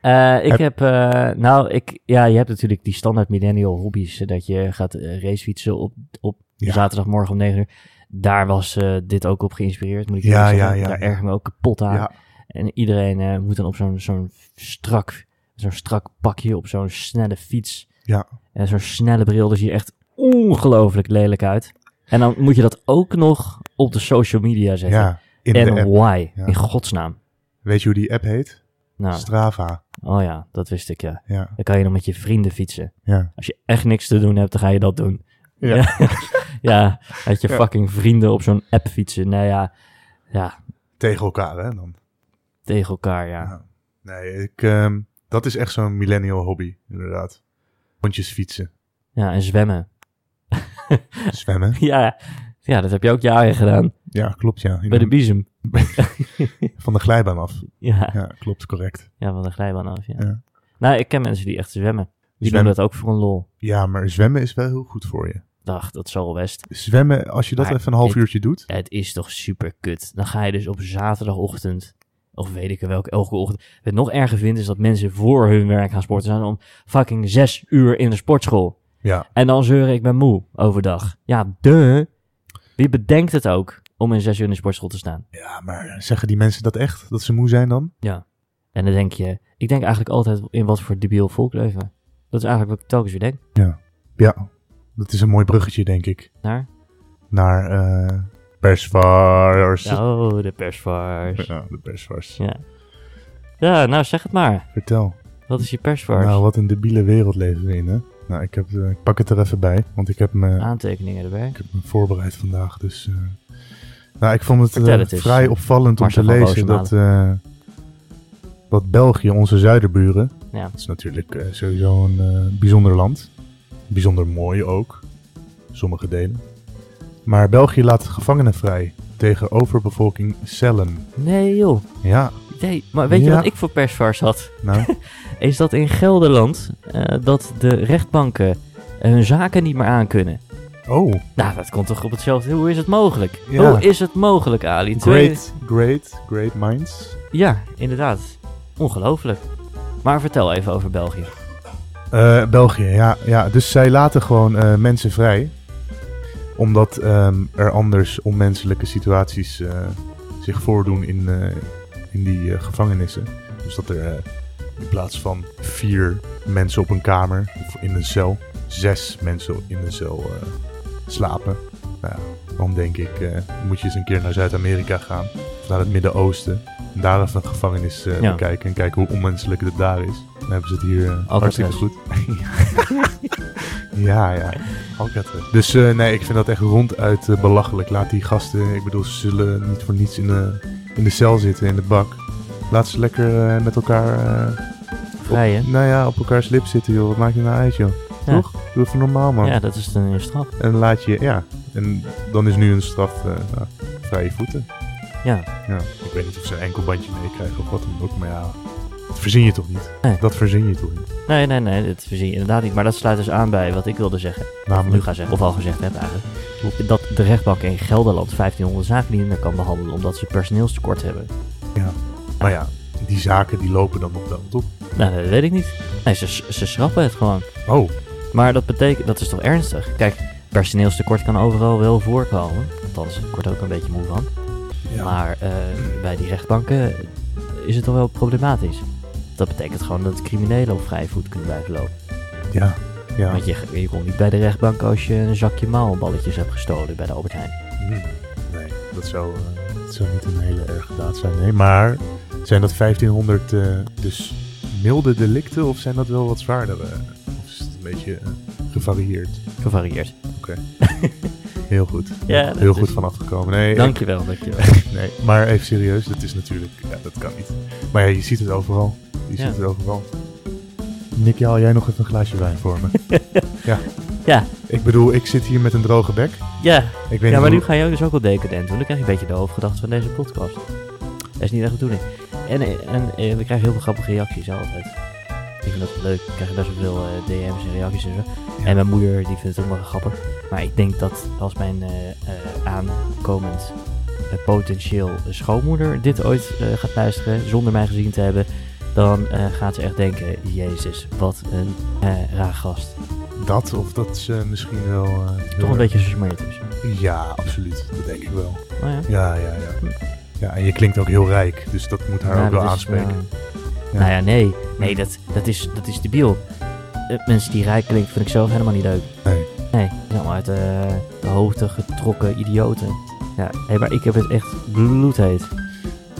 S1: Eh, ik
S2: Heb-
S1: heb, eh, nou, ik, ja, je hebt natuurlijk die standaard millennial hobby's. eh, Dat je gaat eh, racefietsen op, op
S2: Ja.
S1: zaterdagmorgen om 9 uur. Daar was eh, dit ook op geïnspireerd, moet ik
S2: Ja,
S1: eerlijk
S2: ja,
S1: zeggen.
S2: ja,
S1: Daar
S2: ja.
S1: erg me ook kapot aan.
S2: Ja.
S1: En iedereen eh, moet dan op zo'n zo'n strak, zo'n strak pakje, op zo'n snelle fiets.
S2: Ja.
S1: En zo'n snelle bril, daar zie je echt ongelooflijk lelijk uit. En dan moet je dat ook nog op de social media zetten.
S2: Ja, in
S1: en
S2: de app.
S1: why?
S2: Ja.
S1: In godsnaam.
S2: Weet je hoe die app heet?
S1: Nou,
S2: Strava.
S1: oh ja, dat wist ik ja.
S2: Ja,
S1: Dan kan je dan met je vrienden fietsen.
S2: ja.
S1: Als je echt niks te doen hebt, dan ga je dat doen.
S2: Ja.
S1: ja, dat je
S2: Ja.
S1: fucking vrienden op zo'n app fietsen. Nou ja, ja,
S2: Tegen elkaar, hè? Dan.
S1: tegen elkaar, ja.
S2: Ja. Nee, ik, ehm, dat is echt zo'n millennial hobby, inderdaad. Rondjes fietsen,
S1: Ja, en zwemmen.
S2: zwemmen.
S1: Ja, ja, dat heb je ook jaren gedaan.
S2: Ja, klopt, ja.
S1: Bij de biesem.
S2: Van de glijbaan af.
S1: Ja,
S2: Ja, klopt, correct.
S1: ja, van de glijbaan af, ja.
S2: Ja.
S1: Nou, ik ken mensen die echt zwemmen. Die
S2: Zwemmen-
S1: doen dat ook voor een lol.
S2: Ja, maar zwemmen is wel heel goed voor je.
S1: Dag, dat zal wel best.
S2: Zwemmen, als je dat
S1: Maar
S2: even een half
S1: ik-
S2: uurtje doet.
S1: Het is toch super kut. Dan ga je dus op zaterdagochtend, of weet ik welke, elke ochtend. Wat ik nog erger vind, is dat mensen voor hun werk gaan sporten zijn om fucking zes uur in de sportschool.
S2: Ja,
S1: En dan zeuren ik ben moe overdag. Ja, duh. Wie bedenkt het ook om in zes uur in de sportschool te staan?
S2: ja maar zeggen die mensen dat echt? Dat ze moe zijn dan?
S1: En dan denk je, ik denk eigenlijk altijd in wat voor debiel volk leven. we. Dat is eigenlijk wat ik telkens weer denk.
S2: Ja, dat is een mooi bruggetje, denk ik.
S1: Naar?
S2: Naar eh persvars. Ja.
S1: Oh, de persvars.
S2: de persvars.
S1: Ja. ja, nou zeg het maar.
S2: Vertel.
S1: Wat is je persvars?
S2: Nou, wat een debiele wereld leven we in, hè? Nou, ik, heb, eh, ik pak het er even bij, want ik heb me,
S1: Aantekeningen erbij.
S2: ik heb me voorbereid vandaag. Dus, eh, nou, ik vond het, eh,
S1: Vertel het eens.
S2: vrij opvallend om
S1: Marcel
S2: te
S1: van
S2: lezen dat, eh, dat België, onze zuiderburen...
S1: Ja.
S2: Dat is natuurlijk eh, sowieso een eh, bijzonder land. Bijzonder mooi ook, sommige delen. Maar België laat gevangenen vrij tegen overbevolking cellen.
S1: Nee joh.
S2: Ja,
S1: Nee, maar weet je
S2: Ja.
S1: wat ik voor persvars had?
S2: nou,
S1: Is dat in Gelderland eh, dat de rechtbanken hun zaken niet meer aankunnen.
S2: oh,
S1: Nou, dat komt toch op hetzelfde. Hoe is het mogelijk?
S2: Ja.
S1: Hoe is het mogelijk, Ali? Twee-
S2: great, great, great minds.
S1: Ja, inderdaad. Ongelooflijk. Maar vertel even over België.
S2: Eh, België, ja, ja. Dus zij laten gewoon eh, mensen vrij. Omdat ehm, er anders onmenselijke situaties eh, zich voordoen in, eh, in die eh, gevangenissen. Dus dat er eh, in plaats van vier mensen op een kamer of in een cel, zes mensen in een cel eh, slapen. Nou ja, dan denk ik, eh, moet je eens een keer naar Zuid-Amerika gaan. Of naar het Midden-Oosten. En daar even een gevangenis eh,
S1: Ja.
S2: bekijken. En kijken hoe onmenselijk het daar is. Dan hebben ze het hier eh, hartstikke goed. ja, ja. Alcatraz. Dus eh, nee, ik vind dat echt ronduit eh, belachelijk. Laat die gasten, ik bedoel, ze zullen niet voor niets in de, in de cel zitten, in de bak. Laat ze lekker eh, met elkaar... eh,
S1: Vrij, hè?
S2: op, nou ja, op elkaars lip zitten, joh. Wat maakt het nou uit, joh?
S1: Ja.
S2: Toch? Doe even normaal, man.
S1: Ja, dat is dan een straf.
S2: En laat je, ja. En dan is nu een straf eh nou, vrije voeten.
S1: Ja.
S2: Ja. Ik weet niet of ze een enkelbandje meekrijgen of wat dan ook, maar ja. Dat verzin je toch niet?
S1: Nee.
S2: Dat verzin je toch niet?
S1: Nee, nee, nee, dat verzin je inderdaad niet. Maar dat sluit dus aan bij wat ik wilde zeggen. Of nu
S2: Namelijk,
S1: ga zeggen, of al gezegd heb eigenlijk. Dat de rechtbank in Gelderland 1500 zaken niet meer kan behandelen omdat ze personeelstekort hebben.
S2: nou ja, die zaken die lopen dan op de hand op.
S1: Nou, dat weet ik niet. Nee, ze, ze schrappen het gewoon.
S2: Oh,
S1: Maar dat betekent, dat is toch ernstig? Kijk, personeelstekort kan overal wel voorkomen. Althans, ik word er ook een beetje moe van.
S2: ja.
S1: Maar eh, bij die rechtbanken is het toch wel problematisch. Dat betekent gewoon dat criminelen op vrije voet kunnen blijven lopen.
S2: Ja, ja.
S1: Want je, je komt niet bij de rechtbank als je een zakje maalballetjes hebt gestolen bij de Albert Heijn.
S2: Hm. Nee, dat zou, eh, dat zou niet een hele erge daad zijn. Nee, maar zijn dat 1500 eh, dus milde delicten of zijn dat wel wat zwaardere? Of is het een beetje eh, gevarieerd?
S1: Gevarieerd.
S2: Heel goed.
S1: Ja, dat
S2: Heel
S1: is-
S2: goed van afgekomen. Nee,
S1: Dankjewel, dankjewel.
S2: ik- nee, maar even serieus, dat is natuurlijk, ja, dat kan niet. Maar ja, je ziet het overal. Je
S1: Ja.
S2: ziet het overal. Nicky, haal jij nog even een glaasje wijn voor me? ja.
S1: Ja.
S2: Ik bedoel, ik zit hier met een droge bek.
S1: Ja,
S2: Ik weet
S1: ja
S2: niet
S1: maar
S2: hoe-
S1: nu ga je dus ook wel decadent. Want dan krijg je een beetje de hoofdgedachte van deze podcast. Dat is niet echt de bedoeling. En, eh, en eh, we krijgen heel veel grappige reacties altijd. Ik vind dat leuk. Ik krijg best wel veel eh, DM's en reacties en zo.
S2: Ja.
S1: En mijn moeder die vindt het ook wel grappig. Maar ik denk dat als mijn eh, eh, aankomend eh, potentieel schoonmoeder dit ooit eh, gaat luisteren zonder mij gezien te hebben, dan eh, gaat ze echt denken: Jezus, wat een eh, raar gast.
S2: Dat of dat ze misschien wel... eh, heel
S1: Toch een
S2: erg-
S1: beetje gesmeerd is.
S2: Ja, absoluut. Dat denk ik wel.
S1: Nou ja.
S2: Ja, ja, ja. Ja, en je klinkt ook heel rijk, dus dat moet haar
S1: Ja,
S2: ook wel
S1: Nou, dat is,
S2: aanspreken.
S1: ja. Nou ja, nee. Nee, dat, dat, is, dat is debiel. Eh, mensen die rijk klinken vind ik zelf helemaal niet leuk.
S2: Nee.
S1: Nee, die zijn allemaal uit eh, de hoogte getrokken idioten. Ja, hé, maar ik heb het echt bloedheet.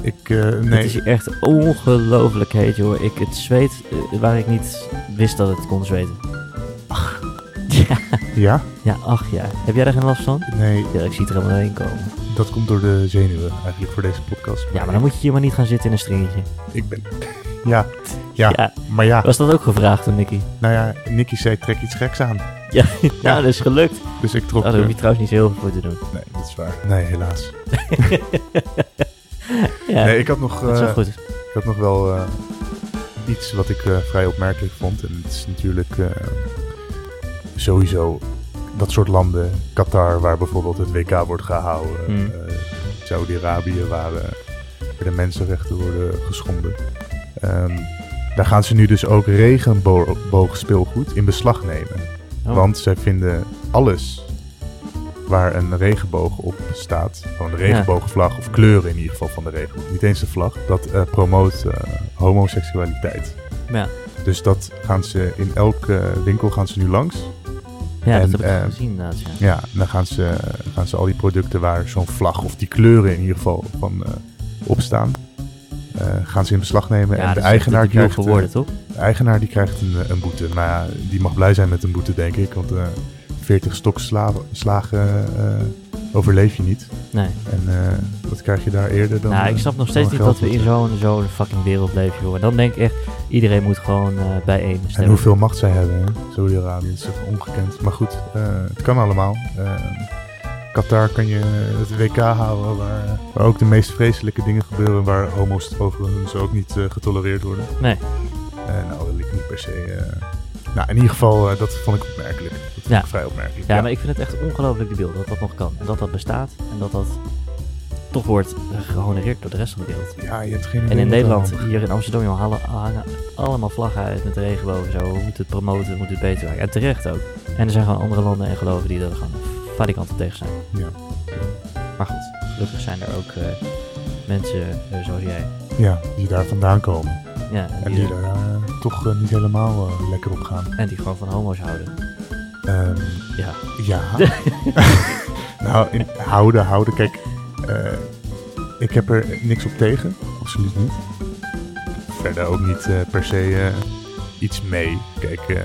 S2: Ik, eh,
S1: Het
S2: nee,
S1: is hier echt ongelooflijk heet, joh. Ik, het zweet eh, waar ik niet wist dat het kon zweten. Ja,
S2: ja?
S1: ja, ach ja. Heb jij daar geen last van?
S2: Nee,
S1: Ja, ik zie het er helemaal heen komen.
S2: dat komt door de zenuwen eigenlijk voor deze podcast.
S1: Ja, maar dan moet je hier maar niet gaan zitten in een stringetje.
S2: Ik ben... Ja, ja, maar ja,
S1: was dat ook gevraagd toen, Nicky?
S2: nou ja, Nicky zei trek iets geks aan.
S1: Ja, ja, dat is gelukt.
S2: Dus ik trok...
S1: Ah, daar hoef
S2: eh,
S1: je trouwens niet zo heel veel voor te doen.
S2: Nee, dat is waar. Nee, helaas.
S1: Ja,
S2: Nee, ik had nog...
S1: dat is wel
S2: eh,
S1: goed.
S2: Ik had nog wel eh, iets wat ik eh, vrij opmerkelijk vond. En het is natuurlijk eh, sowieso dat soort landen. Qatar, waar bijvoorbeeld het WK wordt gehouden.
S1: Hmm.
S2: eh, Saudi-Arabië, waar, eh, waar de mensenrechten worden geschonden. Ehm, daar gaan ze nu dus ook regenboogspeelgoed in beslag nemen.
S1: Oh.
S2: Want zij vinden alles waar een regenboog op staat, gewoon de regenboogvlag of kleuren in ieder geval van de regenboog, niet eens de vlag, dat eh, promoot eh, homoseksualiteit.
S1: Ja,
S2: Dus dat gaan ze in elke winkel gaan ze nu langs.
S1: ja
S2: En,
S1: dat heb ik
S2: eh,
S1: gezien inderdaad. Ja.
S2: Ja, en dan gaan ze, gaan ze al die producten waar zo'n vlag of die kleuren in ieder geval van eh, op staan, eh, gaan ze in beslag nemen. en
S1: dus dat
S2: de
S1: is
S2: eigenaar
S1: echt een duur
S2: krijgt,
S1: voor
S2: eh,
S1: woorden, toch?
S2: de eigenaar die krijgt een, eh, een boete. Maar ja, die mag blij zijn met een boete, denk ik. Want eh 40 stokslagen eh, overleef je niet.
S1: Nee.
S2: En eh, wat krijg je daar eerder dan?
S1: nou, ik
S2: eh,
S1: snap nog steeds
S2: dan
S1: niet dat we
S2: geld
S1: in zo'n zo'n fucking wereld leven, joh. En dan denk ik echt, iedereen moet gewoon eh bijeen stemmen.
S2: En hoeveel macht zij hebben, hè? Saudi-Arabië is toch ongekend. Maar goed, eh, het kan allemaal. Eh, Qatar kan je het WK houden, waar, waar ook de meest vreselijke dingen gebeuren, waar homo's overigens ook niet eh, getolereerd worden.
S1: Nee.
S2: Eh, nou, wil ik niet per se. eh, Nou, in ieder geval, eh, dat vond ik opmerkelijk. Dat vond
S1: Ja.
S2: ik vrij opmerkelijk.
S1: Ja, maar ik vind het echt ongelooflijk debiel dat dat nog kan. En dat dat bestaat. En dat dat toch wordt eh, gehonoreerd door de rest van de wereld.
S2: Ja, je hebt geen idee
S1: En in
S2: wat
S1: Nederland,
S2: er
S1: hier in Amsterdam, joh, halen- hangen allemaal vlaggen uit met de regenboog en zo. We moeten het promoten, we moeten het beter maken. En terecht ook. En er zijn gewoon andere landen en geloven die er gewoon fadikanten tegen zijn.
S2: allemaal- Ja.
S1: Maar goed, gelukkig zijn er ook eh, mensen eh, zoals jij.
S2: ja, die daar vandaan komen.
S1: Ja, en,
S2: En
S1: die,
S2: die daar eh, toch eh, niet helemaal eh, lekker op gaan.
S1: en die gewoon van homo's houden.
S2: Ehm,
S1: Ja,
S2: ja. nou, in, houden, houden. Kijk, eh, ik heb er niks op tegen. Absoluut niet. Verder ook niet eh, per se eh, iets mee. Kijk, eh,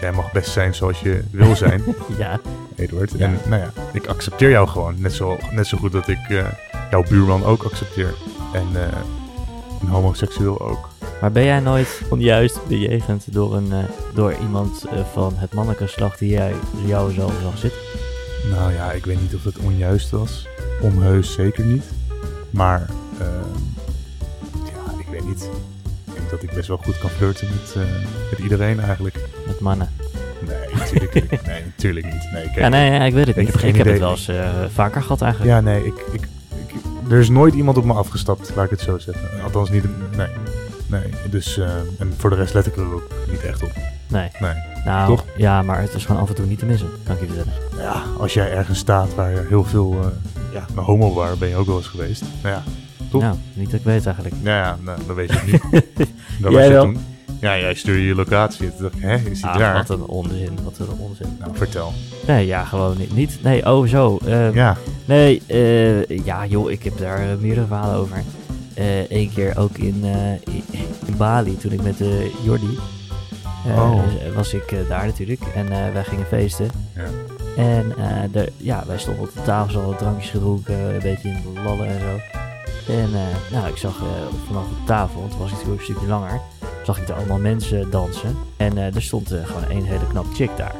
S2: jij mag best zijn zoals je wil zijn.
S1: ja.
S2: Edward.
S1: Ja.
S2: En nou ja, ik accepteer jou gewoon. Net zo, net zo goed dat ik eh, jouw buurman ook accepteer. En eh, een homoseksueel ook.
S1: Maar ben jij nooit onjuist bejegend door, een, eh, door iemand eh, van het mannelijke geslacht die jij jou zo zag zitten?
S2: Nou ja, ik weet niet of dat onjuist was. Onheus zeker niet. Maar ehm, ja, ik weet niet. Ik denk dat ik best wel goed kan flirten met, eh, met iedereen eigenlijk.
S1: Met mannen?
S2: Nee, natuurlijk niet. Nee, natuurlijk niet. Nee, kijk,
S1: Ja, nee, ja, ik weet het
S2: Ik
S1: niet.
S2: heb geen
S1: ik heb het
S2: idee.
S1: wel eens eh, vaker gehad eigenlijk.
S2: Ja, nee, ik, ik, ik- er is nooit iemand op me afgestapt, laat ik het zo zeggen. Althans, niet. een- Nee. nee. Dus, eh, en voor de rest let ik er ook niet echt op.
S1: Nee.
S2: Nee.
S1: Nou,
S2: Toch?
S1: ja, maar het is gewoon af en toe niet te missen, kan ik je vertellen.
S2: Ja, als jij ergens staat waar er heel veel. eh, ja, een homo waar ben je ook wel eens geweest. Nou ja, Toch?
S1: Nou, niet dat ik weet eigenlijk.
S2: nou ja nou, dan weet je het niet.
S1: Jij
S2: Dan was je
S1: wel?
S2: toen. Ja, jij stuurde je locatie. Toen dacht ik, hè, is die
S1: Ah,
S2: daar?
S1: wat een onzin, wat een onzin.
S2: Nou, vertel.
S1: Nee, ja, gewoon niet. niet. Nee, oh zo. eh,
S2: Ja,
S1: Nee, eh, ja joh, ik heb daar eh, meerdere verhalen over. Eén keer ook in, eh, in- in Bali, toen ik met eh Jordi eh,
S2: Oh.
S1: was ik eh, daar natuurlijk. En eh, wij gingen feesten.
S2: Ja.
S1: En eh, de, ja, wij stonden op de tafel, al drankjes gedronken, een beetje in de lallen en zo. En eh, nou, ik zag eh, vanaf de tafel, want het was natuurlijk een stukje langer, zag ik er allemaal mensen dansen. En eh, er stond eh, gewoon één hele knap chick daar.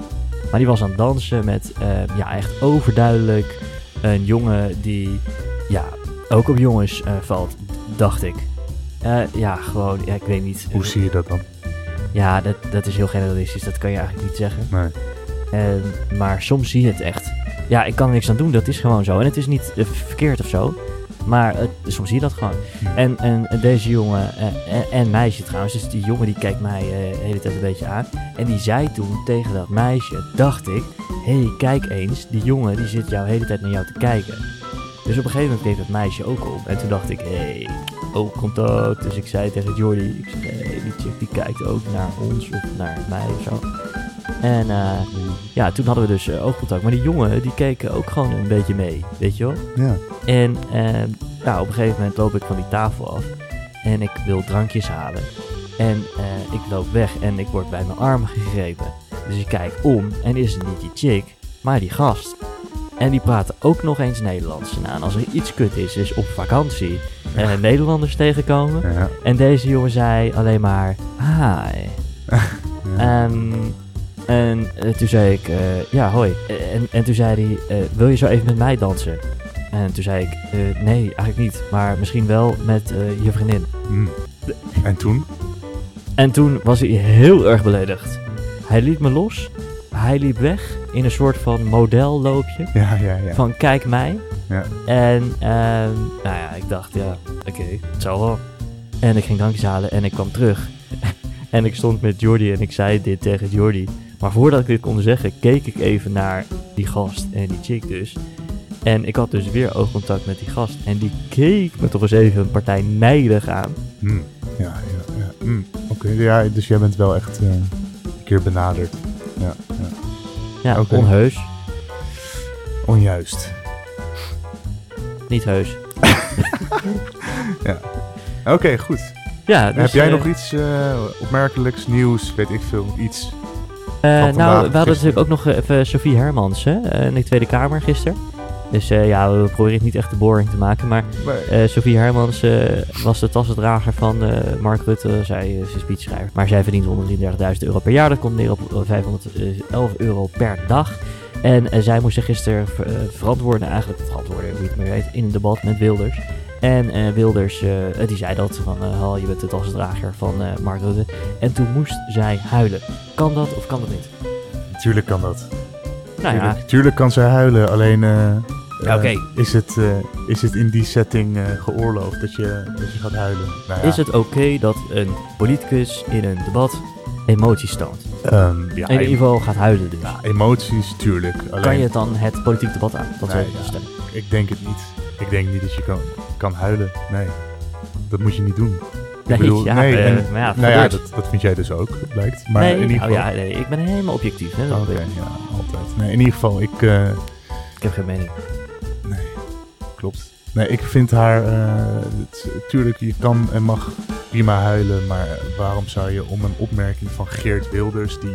S1: Maar die was aan het dansen met, eh, ja, echt overduidelijk een jongen die, ja, ook op jongens eh, valt, dacht ik. Eh, ja, gewoon, ja, ik weet niet.
S2: hoe zie je dat dan?
S1: Ja, dat, dat is heel generalistisch, dat kan je eigenlijk niet zeggen.
S2: Nee.
S1: En- maar soms zie je het echt. Ja, ik kan er niks aan doen. Dat is gewoon zo. En het is niet eh, verkeerd of zo. Maar eh, soms zie je dat gewoon.
S2: Ja.
S1: En, en deze jongen, eh, en, en meisje trouwens, dus die jongen die kijkt mij eh, de hele tijd een beetje aan. En die zei toen tegen dat meisje, dacht ik, hé hey, kijk eens, die jongen die zit jou de hele tijd naar jou te kijken. Dus op een gegeven moment keek dat meisje ook om. En toen dacht ik, hé, hey, ook contact. Dus ik zei tegen Jordi, ik zeg, hey, die chick die kijkt ook naar ons of naar mij of zo. En eh, ja, toen hadden we dus eh, oogcontact. Maar die jongen, die keken ook gewoon een beetje mee, weet je wel.
S2: Ja.
S1: En ehm, nou, op een gegeven moment loop ik van die tafel af en ik wil drankjes halen. En eh, ik loop weg en ik word bij mijn arm gegrepen. Dus ik kijk om en is het niet die chick, maar die gast. En die praten ook nog eens Nederlands. Nou, en als er iets kut is, is op vakantie eh, Nederlanders tegenkomen.
S2: Ja.
S1: En deze jongen zei alleen maar, hi. Ehm, en eh, toen zei ik, eh, ja, hoi. Eh, En, en toen zei hij, eh, wil je zo even met mij dansen? En toen zei ik, eh, nee, eigenlijk niet. Maar misschien wel met eh, je vriendin.
S2: Hm. En toen?
S1: En toen was hij heel erg beledigd. Hij liet me los. Hij liep weg in een soort van modelloopje.
S2: Ja, ja, ja.
S1: Van kijk mij.
S2: Ja.
S1: En ehm, nou ja, ik dacht, ja, oké, het zal wel. En ik ging drankjes halen en ik kwam terug. en ik stond met Jordi en ik zei dit tegen Jordi. Maar voordat ik dit kon zeggen, keek ik even naar die gast en die chick dus. En ik had dus weer oogcontact met die gast. En die keek me toch eens even een partij nijdig aan.
S2: Hm. Ja, ja, ja. Hm. Oké, ja, dus jij bent wel echt eh, een keer benaderd. Ja, ja.
S1: Ja,
S2: Oké.
S1: onheus.
S2: Onjuist.
S1: Niet heus.
S2: Oké, goed.
S1: Ja, dus,
S2: Heb jij
S1: eh,
S2: nog iets eh, opmerkelijks, nieuws, weet ik veel, iets?
S1: Eh,
S2: Van vandaag,
S1: nou, we hadden
S2: gisteren.
S1: natuurlijk ook nog eh, even Sophie Hermans hè, eh, in de Tweede Kamer gisteren. Dus eh, ja, we proberen het niet echt de boring te maken. Maar
S2: Maar,
S1: eh, Sophie Hermans eh, was de tassendrager van eh, Mark Rutte. Zij eh, is een speechschrijver. Maar zij verdient 133.000 euro per jaar. Dat komt neer op eh, 511 euro per dag. En eh, zij moest zich gisteren ver- eh, verantwoorden, eigenlijk verantwoorden, hoe je het maar weet, in een debat met Wilders. En eh, Wilders, eh, eh, die zei dat, van eh, "Hal, je bent de tassendrager van eh, Mark Rutte. En toen moest zij huilen. Kan dat of kan dat niet?
S2: natuurlijk kan dat.
S1: Nou ja,
S2: Tuurlijk, tuurlijk kan ze huilen, alleen eh, eh,
S1: Ja, oké.
S2: is, het, eh, is het in die setting eh, geoorloofd dat je, dat je gaat huilen? Nou ja,
S1: is het oké dat een politicus in een debat emoties toont?
S2: ehm, ja,
S1: In ieder
S2: em-
S1: geval gaat huilen dus.
S2: ja, emoties, tuurlijk. Alleen,
S1: kan je dan het politiek debat aan? Dat
S2: Nee,
S1: zou ik
S2: ja.
S1: stellen.
S2: Ik denk het niet. Ik denk niet dat je kan, kan huilen. Nee, dat moet je niet doen.
S1: Nee,
S2: bedoel,
S1: ja,
S2: nee,
S1: eh,
S2: en-
S1: maar ja, het
S2: nou ja,
S1: gebeurt.
S2: dat, dat vind jij dus ook, blijkt. Maar
S1: nee,
S2: in ieder
S1: nou
S2: geval...
S1: ja, Oh, nee, ik ben helemaal objectief. Hè, dat
S2: Oké,
S1: weet ik.
S2: ja, altijd. Nee, in ieder geval, ik... eh,
S1: Ik heb geen mening.
S2: Klopt. Nee, ik vind haar. eh, het- tuurlijk, je kan en mag prima huilen. Maar waarom zou je om een opmerking van Geert Wilders, die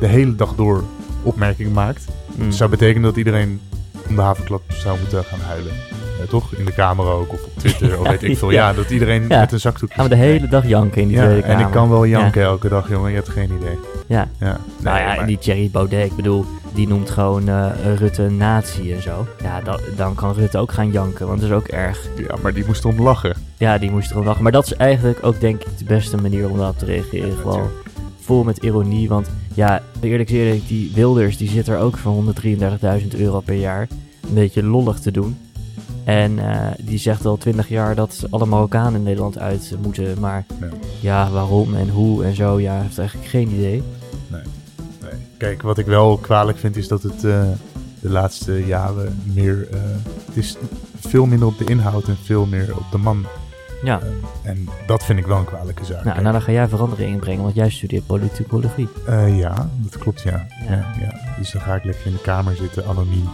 S2: de hele dag door opmerking maakt,
S1: Mm.
S2: zou betekenen dat iedereen om de havenklap zou moeten gaan huilen? Ja, toch? In de Kamer ook, of op Twitter, of weet ik veel. Ja, dat iedereen
S1: Ja.
S2: met een zakdoekje.
S1: Gaan we de hele dag janken in die
S2: ja,
S1: Tweede Kamer.
S2: en ik kan wel janken elke dag, jongen. Je hebt geen idee.
S1: Ja.
S2: ja.
S1: nou
S2: Nee,
S1: ja,
S2: maar-
S1: die Thierry Baudet, ik bedoel, die noemt gewoon eh, Rutte een nazi en zo. Ja, da- dan kan Rutte ook gaan janken, want dat is ook erg.
S2: ja, maar die moest erom lachen.
S1: Ja, die moest erom lachen. Maar dat is eigenlijk ook denk ik de beste manier om daarop te reageren.
S2: Ja,
S1: Gewoon
S2: natuurlijk.
S1: vol met ironie. Want ja, eerlijk is eerlijk, die Wilders die zit er ook voor 133.000 euro per jaar. Een beetje lollig te doen. En eh, die zegt al 20 jaar dat alle Marokkanen in Nederland uit moeten. Maar
S2: Ja.
S1: ja, waarom en hoe en zo, ja, heeft eigenlijk geen idee.
S2: Nee. Kijk, wat ik wel kwalijk vind is dat het eh, de laatste jaren meer. eh, het is veel minder op de inhoud en veel meer op de man.
S1: Ja,
S2: Eh, en dat vind ik wel een kwalijke zaak.
S1: nou, nou dan ga jij verandering inbrengen, want jij studeert politicologie.
S2: Eh, ja, dat klopt, ja. Ja.
S1: Ja.
S2: Ja, Dus dan ga ik lekker in de kamer zitten, anoniem.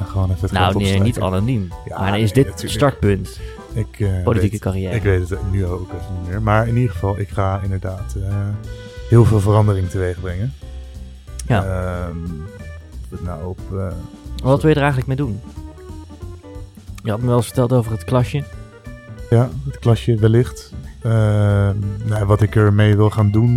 S2: En gewoon even het geld
S1: Nou, nee,
S2: opstrijken.
S1: niet anoniem.
S2: Ja,
S1: maar dan is dit
S2: nee,
S1: het
S2: natuurlijk.
S1: startpunt,
S2: Ik, eh,
S1: politieke
S2: weet,
S1: carrière.
S2: ik weet het nu ook even niet meer. Maar in ieder geval, ik ga inderdaad eh, heel veel verandering teweeg brengen.
S1: Ja.
S2: Ehm, of het nou op. eh,
S1: Wat wil je er eigenlijk mee doen? Je had me wel eens verteld over het klasje.
S2: Ja, het klasje wellicht. Ehm, nou, wat ik ermee wil gaan doen.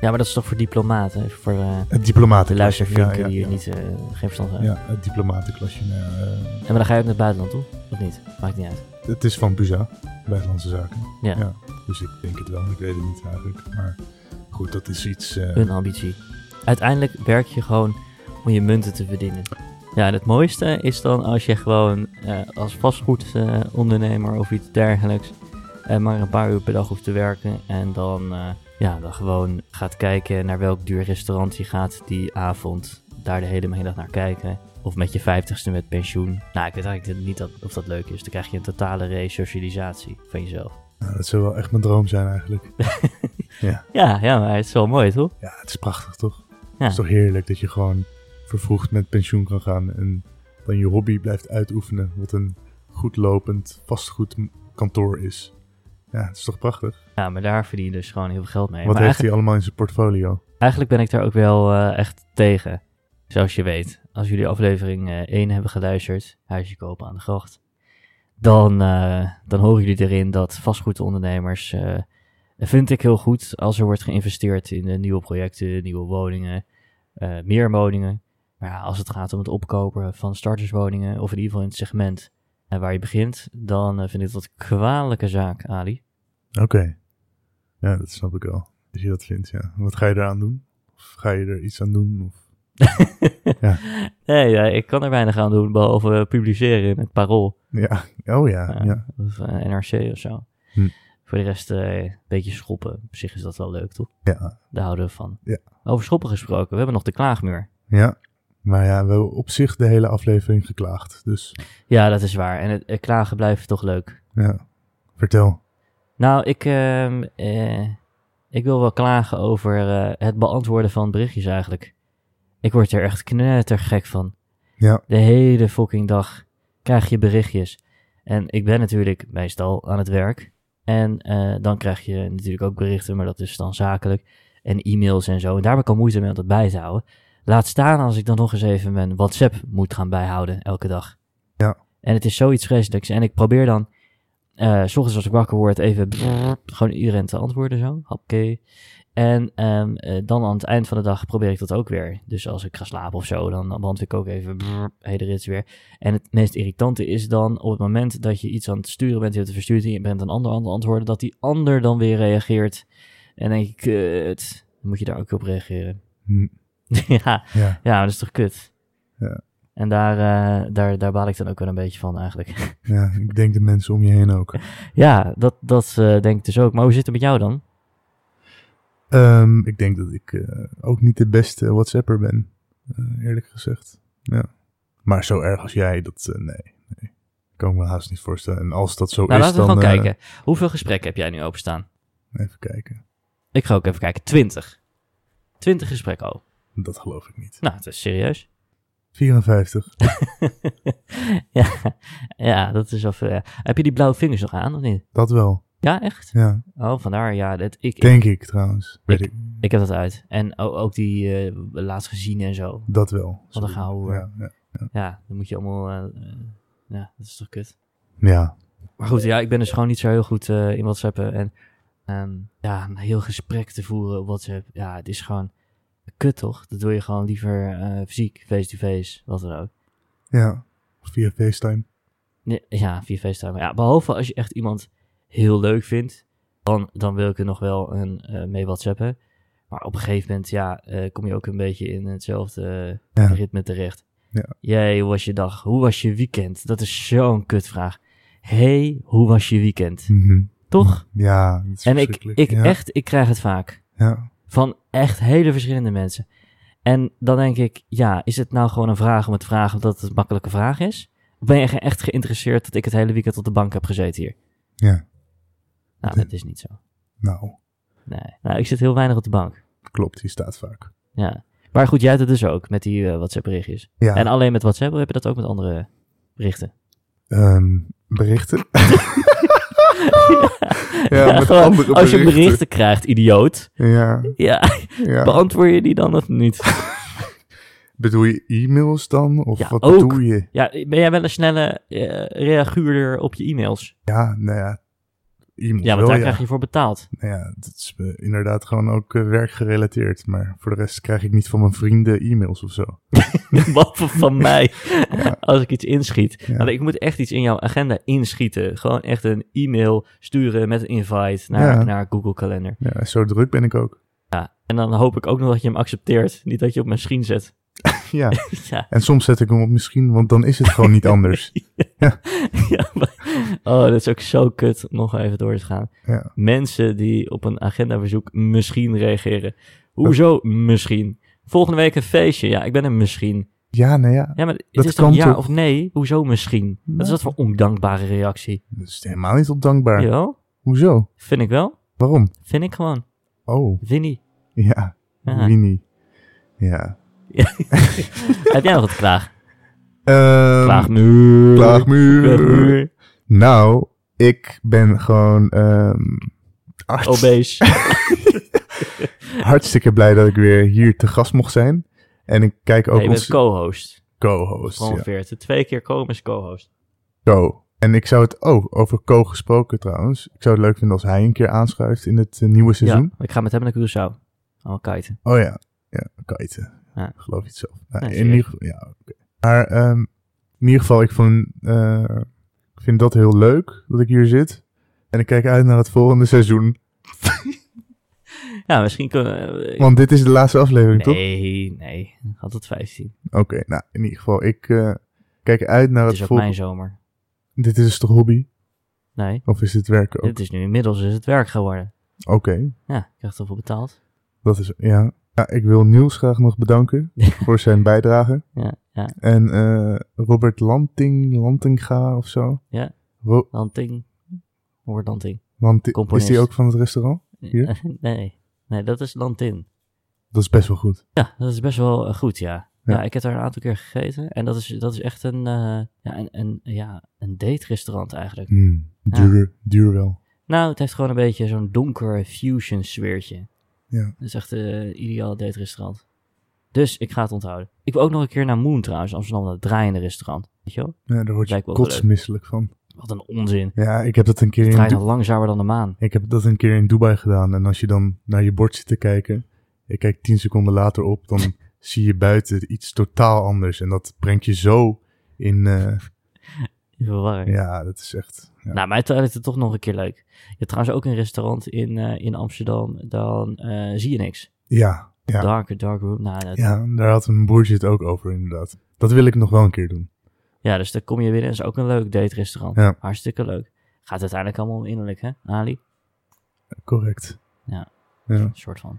S1: Ja, maar dat is toch voor diplomaten? even Voor eh,
S2: Het diplomatenklasje.
S1: de luistervinken
S2: ja, ja,
S1: die
S2: ja.
S1: er niet, eh, geen verstand van hebben.
S2: Ja, het diplomatenklasje. nou ja, eh,
S1: En maar dan ga je ook naar het buitenland toe? Of niet? Maakt niet uit.
S2: het is van Buza, Buitenlandse Zaken.
S1: Ja.
S2: Dus ik denk het wel, ik weet het niet eigenlijk. Maar goed, dat is iets... eh,
S1: Een ambitie. Uiteindelijk werk je gewoon om je munten te verdienen. Ja, en het mooiste is dan als je gewoon eh, als vastgoedondernemer of iets dergelijks eh, maar een paar uur per dag hoeft te werken. En dan, eh, ja, dan gewoon gaat kijken naar welk duur restaurant je gaat die avond. Daar de hele middag naar kijken. Of met je vijftigste met pensioen. Nou, ik weet eigenlijk niet dat, of dat leuk is. Dan krijg je een totale resocialisatie van jezelf.
S2: Nou, dat zou wel echt mijn droom zijn eigenlijk.
S1: Ja, ja, maar het is wel mooi, toch?
S2: Ja, het is prachtig toch?
S1: Ja.
S2: Het is toch heerlijk dat je gewoon vervroegd met pensioen kan gaan en dan je hobby blijft uitoefenen. Wat een goed lopend vastgoedkantoor is. Ja, het is toch prachtig?
S1: Ja, maar daar verdien je dus gewoon heel veel geld mee.
S2: Wat
S1: maar
S2: heeft
S1: eigenlijk,
S2: hij allemaal in zijn portfolio?
S1: eigenlijk ben ik daar ook wel eh, echt tegen. Zoals je weet, als jullie aflevering eh 1 hebben geluisterd, Huisje Kopen aan de Gracht, dan, eh, dan horen jullie erin dat vastgoedondernemers, eh, vind ik heel goed, als er wordt geïnvesteerd in eh, nieuwe projecten, nieuwe woningen, eh, meer woningen. Maar ja, als het gaat om het opkopen van starterswoningen, of in ieder geval in het segment eh, waar je begint, dan eh, vind ik dat een kwalijke zaak, Ali.
S2: Oké. Ja, dat snap ik wel. Als je dat vindt, ja. Wat ga je eraan doen? Of ga je er iets aan doen? Of...
S1: Nee, ja, ik kan er weinig aan doen, behalve eh, publiceren in het Parool
S2: Ja, oh ja,
S1: Ja.
S2: ja.
S1: of eh, NRC of zo.
S2: Hm.
S1: Voor de rest eh, een beetje schoppen. Op zich is dat wel leuk, toch?
S2: Ja.
S1: Daar houden we van.
S2: Ja.
S1: Over schoppen gesproken, we hebben nog de klaagmuur.
S2: Ja. Maar ja, we hebben op zich de hele aflevering geklaagd. Dus
S1: Ja, dat is waar. En het, eh, klagen blijft toch leuk.
S2: ja, vertel.
S1: Nou, ik, ehm, eh, ik wil wel klagen over eh, het beantwoorden van berichtjes eigenlijk. Ik word er echt knettergek van.
S2: Ja.
S1: De hele fucking dag krijg je berichtjes. En ik ben natuurlijk meestal aan het werk. En eh, dan krijg je natuurlijk ook berichten, maar dat is dan zakelijk. En e-mails en zo. En daar heb ik al moeite mee om dat bij te houden. Laat staan als ik dan nog eens even mijn WhatsApp moet gaan bijhouden elke dag.
S2: Ja.
S1: En het is zoiets vreselijks. En ik probeer dan, eh, s ochtends als ik wakker word, even brrr, gewoon iedereen te antwoorden zo. Oké. En ehm, eh, dan aan het eind van de dag probeer ik dat ook weer. Dus als ik ga slapen of zo, dan beantwoord ik ook even brrr, hele rits weer. En het meest irritante is dan op het moment dat je iets aan het sturen bent, je hebt het verstuurd en je bent een ander aan het antwoorden, dat die ander dan weer reageert. En dan denk ik, kut, dan moet je daar ook op reageren.
S2: Hm,
S1: ja,
S2: Ja.
S1: ja, maar dat is toch kut?
S2: Ja.
S1: En daar, eh, daar, daar baal ik dan ook wel een beetje van eigenlijk.
S2: ja, ik denk de mensen om je heen ook.
S1: ja, dat, dat eh, denk ik dus ook. Maar hoe zit het met jou dan?
S2: Ehm, ik denk dat ik eh, ook niet de beste WhatsApper ben, eh, eerlijk gezegd. Ja. Maar zo erg als jij, dat eh, nee, nee. Kan ik me haast niet voorstellen. En als dat zo
S1: Nou,
S2: is,
S1: laten we
S2: dan...
S1: gewoon
S2: eh,
S1: kijken. Hoeveel gesprekken heb jij nu openstaan?
S2: Even kijken.
S1: Ik ga ook even kijken. Twintig. Twintig gesprekken al.
S2: Dat geloof ik niet.
S1: Nou, dat is serieus.
S2: 54.
S1: ja, ja, dat is wel veel, ja. Heb je die blauwe vingers nog aan of niet?
S2: Dat wel,
S1: Ja, echt?
S2: ja.
S1: Oh, vandaar. Ja, dat, ik, ik,
S2: Denk ik trouwens. Weet ik.
S1: ik heb dat uit. En o- ook die eh, laatst gezien en zo.
S2: Dat wel.
S1: Wat een
S2: Sorry.
S1: gehouden.
S2: Ja, ja.
S1: Ja, dan moet je allemaal... eh, eh, ja, dat is toch kut.
S2: ja.
S1: Maar goed, ja, ik ben dus gewoon niet zo heel goed eh, in WhatsAppen. En ehm, ja, een heel gesprek te voeren op WhatsApp. Ja, het is gewoon kut, toch? Dat doe je gewoon liever eh, fysiek, face-to-face, wat dan ook.
S2: ja. Via FaceTime.
S1: Nee, ja, via FaceTime. Ja, behalve als je echt iemand heel leuk vindt, dan, dan wil ik er nog wel een, eh, mee WhatsAppen. Maar op een gegeven moment, ja, eh, kom je ook een beetje in hetzelfde eh,
S2: Ja.
S1: ritme terecht.
S2: Ja.
S1: Jij, hoe was je dag? Hoe was je weekend? Dat is zo'n kutvraag. hey, hoe was je weekend?
S2: Mhm.
S1: Toch?
S2: Ja, dat is
S1: En ik,
S2: verschrikkelijk.
S1: ik
S2: ja.
S1: echt, ik krijg het vaak.
S2: Ja.
S1: Van echt hele verschillende mensen. En dan denk ik, ja, is het nou gewoon een vraag om het te vragen omdat het een makkelijke vraag is? Of ben je ge- echt geïnteresseerd dat ik het hele weekend op de bank heb gezeten hier?
S2: Ja.
S1: Nou,
S2: Nee.
S1: dat is niet zo.
S2: Nou,
S1: Nee. Nou, ik zit heel weinig op de bank.
S2: klopt. Die staat vaak.
S1: Ja. Maar goed, jij hebt het dus ook met die eh, WhatsApp-berichtjes.
S2: Ja.
S1: En alleen met WhatsApp, of heb je dat ook met andere berichten?
S2: Ehm, berichten. ja, met
S1: Gewoon,
S2: andere
S1: als je
S2: berichten.
S1: berichten krijgt, idioot.
S2: Ja,
S1: Ja,
S2: ja.
S1: beantwoord je die dan of niet?
S2: Bedoel je e-mails dan? Of
S1: Ja,
S2: wat
S1: ook.
S2: bedoel je?
S1: Ja, ben jij wel een snelle eh, reaguurder op je e-mails?
S2: Ja, nou ja. E-mails
S1: Ja, want
S2: wel,
S1: daar
S2: ja.
S1: krijg je voor betaald.
S2: Nou ja, dat is eh, inderdaad gewoon ook eh, werkgerelateerd. Maar voor de rest krijg ik niet van mijn vrienden e-mails of zo.
S1: Behalve van mij, als ik iets inschiet.
S2: Ja.
S1: Nou, ik moet echt iets in jouw agenda inschieten. Gewoon echt een e-mail sturen met een invite naar,
S2: Ja.
S1: naar Google Calendar.
S2: Ja, zo druk ben ik ook.
S1: En dan hoop ik ook nog dat je hem accepteert. Niet dat je op mijn screen zet.
S2: ja.
S1: ja.
S2: En soms zet ik hem op misschien, want dan is het gewoon niet anders.
S1: ja, maar- oh, dat is ook zo kut. Nog even door te gaan.
S2: Ja.
S1: Mensen die op een agendaverzoek misschien reageren. Hoezo misschien? Volgende week een feestje. Ja, ik ben er misschien.
S2: Ja, nou ja,
S1: Ja, maar het
S2: Dat
S1: is toch
S2: kan
S1: ja
S2: toch?
S1: of nee? Hoezo misschien? Wat is
S2: Nou.
S1: dat voor ondankbare reactie?
S2: dat is helemaal niet ondankbaar.
S1: Jawel,
S2: Hoezo?
S1: vind ik wel.
S2: Waarom?
S1: Vind ik gewoon.
S2: Oh,
S1: Vinnie.
S2: ja,
S1: Ja.
S2: Winnie. Ja.
S1: Heb jij nog wat klaag?
S2: Ehm,
S1: Klaagmuur.
S2: Klaagmuur.
S1: Klaagmuur.
S2: Nou, ik ben gewoon ehm, hart-
S1: Obese.
S2: hartstikke blij dat ik weer hier te gast mocht zijn. En ik kijk ook
S1: Nee, je bent
S2: onze
S1: co-host.
S2: co-host. ja.
S1: Promoveert. Twee keer komen is co-host.
S2: Co. En ik zou het, oh, over Co gesproken trouwens. Ik zou het leuk vinden als hij een keer aanschuift in het eh, nieuwe
S1: Ja,
S2: seizoen.
S1: maar ik ga met hem naar Curaçao. Allemaal kiten.
S2: Oh ja, ja, kiten.
S1: Ja.
S2: Geloof je het zelf. Nou,
S1: Ja,
S2: in
S1: serieus.
S2: ieder geval, ja, oké. Maar ehm, in ieder geval, ik, vond, eh, ik vind dat heel leuk dat ik hier zit. En ik kijk uit naar het volgende seizoen.
S1: Ja, misschien kunnen we...
S2: Want dit is de laatste aflevering, toch?
S1: nee, nee. Had het 15.
S2: Oké, nou, in ieder geval, ik eh, kijk uit naar
S1: Het
S2: het
S1: is ook mijn
S2: volgende...
S1: zomer.
S2: Dit is dus toch hobby?
S1: Nee,
S2: Of is dit werk ook?
S1: het is nu inmiddels is het werk geworden.
S2: Oké,
S1: Ja, ik krijg ervoor betaald.
S2: dat is... Ja. ja, ik wil Niels graag nog bedanken voor zijn bijdrage.
S1: Ja, ja.
S2: En eh, Robert Lanting, Lantinga of zo.
S1: Ja.
S2: Ro-
S1: Lanting. Hoor Lanting.
S2: Lanti- is
S1: Componist.
S2: die ook van het restaurant? Hier?
S1: Nee, nee, dat is Lantin.
S2: Dat is best wel goed.
S1: Ja, dat is best wel eh, goed, ja.
S2: Ja.
S1: Ja. ik heb daar een aantal keer gegeten. En dat is, dat is echt een, eh, ja, een, een, ja, een date-restaurant eigenlijk.
S2: Hmm, duur, duur wel.
S1: Nou, het heeft gewoon een beetje zo'n donker fusion sfeertje.
S2: Ja.
S1: Dat is echt een ideaal date-restaurant. Dus ik ga het onthouden. Ik wil ook nog een keer naar Moon trouwens, Amsterdam, dat draaiende restaurant. Weet je wel?
S2: Ja, daar word je
S1: Lijkt me ook wel
S2: kotsmisselijk van.
S1: Wat een onzin.
S2: Ja, ik heb dat een keer
S1: Het
S2: in
S1: draait
S2: Du-
S1: nog langzamer dan de maan.
S2: Ik heb dat een keer in Dubai gedaan. En als je dan naar je bord zit te kijken, ik kijk tien seconden later op, dan zie je buiten iets totaal anders. En dat brengt je zo in. eh,
S1: Verwarring.
S2: ja, dat is echt. Ja.
S1: Nou, mij terwijl het het toch nog een keer leuk. Je hebt trouwens ook een restaurant in, eh, in Amsterdam, dan eh, zie je niks.
S2: ja, ja, ja,
S1: Darker, dark room. Nou, dat-
S2: daar had een boertje het ook over, inderdaad. Dat wil ik nog wel een keer doen.
S1: Ja, dus daar kom je binnen. Dat is ook een leuk date restaurant.
S2: Ja.
S1: Hartstikke leuk. Gaat uiteindelijk allemaal om innerlijk, hè, Ali?
S2: Correct.
S1: Ja.
S2: ja.
S1: Een soort van.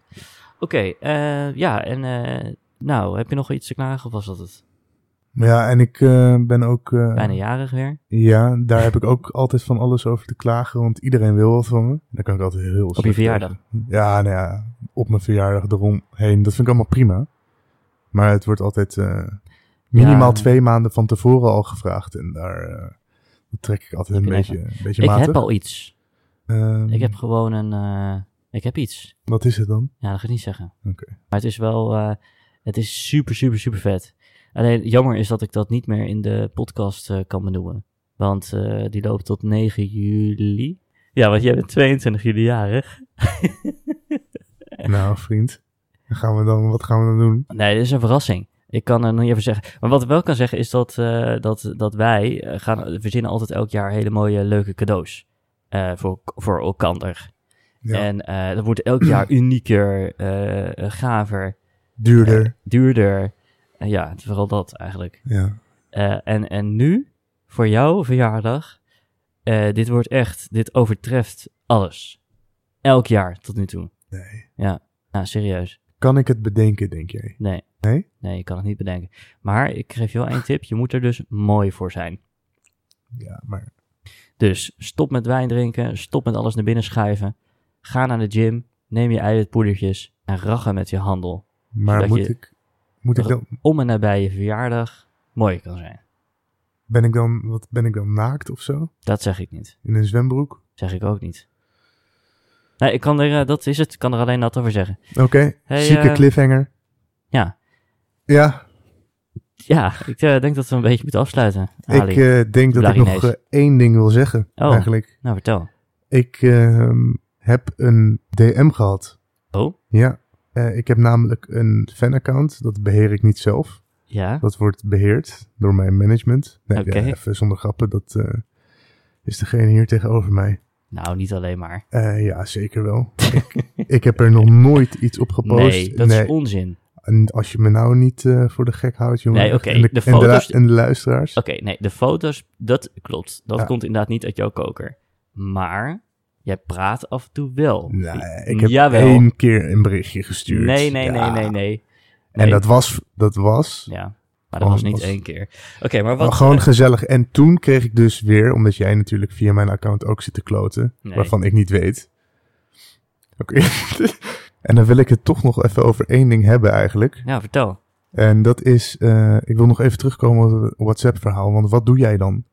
S1: Oké, eh, ja, en eh, nou, heb je nog iets te klagen of was dat het?
S2: Maar ja, en ik eh, ben ook. eh,
S1: Bijna jarig weer.
S2: Ja, daar heb ik ook altijd van alles over te klagen, want iedereen wil wat van me. Daar kan ik altijd heel
S1: Op je
S2: slecht
S1: verjaardag.
S2: tegen. Ja, nou ja, op mijn verjaardag eromheen. Dat vind ik allemaal prima. Maar het wordt altijd eh, minimaal
S1: Ja.
S2: twee maanden van tevoren al gevraagd. En daar eh, dat trek ik altijd een
S1: Ik
S2: beetje, een beetje
S1: Ik
S2: matig.
S1: heb al iets.
S2: Ehm,
S1: Ik heb gewoon een. eh, ik heb iets.
S2: Wat is het dan?
S1: Ja, dat ga ik niet zeggen.
S2: Oké.
S1: Maar het is wel. eh, het is super, super, super vet. Alleen jammer is dat ik dat niet meer in de podcast eh, kan benoemen. Want eh, die loopt tot 9 juli. Ja, want jij bent 22 juli jarig.
S2: Nou, vriend, dan gaan we dan, wat gaan we dan doen?
S1: Nee, dit is een verrassing. Ik kan er nog niet even zeggen. Maar wat ik wel kan zeggen is dat, eh, dat, dat wij eh, gaan, we verzinnen altijd elk jaar hele mooie leuke cadeaus. eh, voor, voor elkander.
S2: Ja,
S1: En eh, dat wordt elk jaar unieker, eh, eh, gaver,
S2: duurder.
S1: eh, duurder. Eh, ja, het is vooral dat eigenlijk.
S2: ja.
S1: Eh, en, en nu, voor jouw verjaardag, eh, dit wordt echt, dit overtreft alles. Elk jaar tot nu toe.
S2: Nee.
S1: Ja, nou serieus.
S2: Kan ik het bedenken, denk jij?
S1: Nee.
S2: Nee?
S1: Nee, je kan het niet bedenken. Maar ik geef je wel één tip, je moet er dus mooi voor zijn.
S2: Ja, maar
S1: Dus stop met wijn drinken, stop met alles naar binnen schuiven. Ga naar de gym, neem je eiwitpoedertjes en rachen met je handel.
S2: maar
S1: Zodat
S2: moet
S1: je-
S2: ik... Moet ik
S1: Zodat-
S2: dan,
S1: Om en nabij je verjaardag mooi kan zijn.
S2: Ben ik dan, wat ben ik dan naakt of zo?
S1: Dat zeg ik niet.
S2: In een zwembroek?
S1: Zeg ik ook niet. Nee, ik kan er, eh, dat is het, ik kan er alleen dat over zeggen.
S2: Oké,
S1: Hey,
S2: zieke
S1: eh,
S2: cliffhanger.
S1: ja.
S2: Ja,
S1: Ja, ik eh, denk dat we een beetje moeten afsluiten. Ali.
S2: ik eh, denk dat ik nog
S1: Blarinees.
S2: eh, één ding wil zeggen
S1: Oh.
S2: eigenlijk.
S1: nou, vertel.
S2: Ik ehm, heb een DM gehad.
S1: Oh,
S2: Ja, Eh, ik heb namelijk een fanaccount. Dat beheer ik niet zelf.
S1: ja.
S2: Dat wordt beheerd door mijn management. Nee,
S1: Oké.
S2: ja, even zonder grappen. Dat eh, is degene hier tegenover mij.
S1: Nou, niet alleen maar.
S2: Eh, ja, zeker wel. ik, ik heb er nog nooit iets op gepost.
S1: Nee, dat
S2: nee.
S1: is onzin.
S2: en als je me nou niet eh, voor de gek houdt, jongen.
S1: Nee, oké,
S2: en, de,
S1: de
S2: en, de, lu-
S1: foto's-
S2: en de luisteraars.
S1: Oké, nee, de foto's, dat klopt. Dat
S2: Ja.
S1: komt inderdaad niet uit jouw koker. Maar jij praat af en toe wel.
S2: Nee, ik heb
S1: Jawel.
S2: één keer een berichtje gestuurd.
S1: Nee, nee,
S2: Ja.
S1: nee, nee, nee.
S2: En
S1: Nee.
S2: dat was, dat was Oh,
S1: Ja, maar dat
S2: Gewoon
S1: was niet
S2: als-
S1: één keer. Oké, maar wat...
S2: Oh, gewoon gezellig. En toen kreeg ik dus weer, omdat jij natuurlijk via mijn account ook zit te kloten,
S1: Nee.
S2: waarvan ik niet weet. Oké. en dan wil ik het toch nog even over één ding hebben eigenlijk.
S1: Ja, vertel.
S2: En dat is, eh, ik wil nog even terugkomen op het WhatsApp-verhaal. Want wat doe jij dan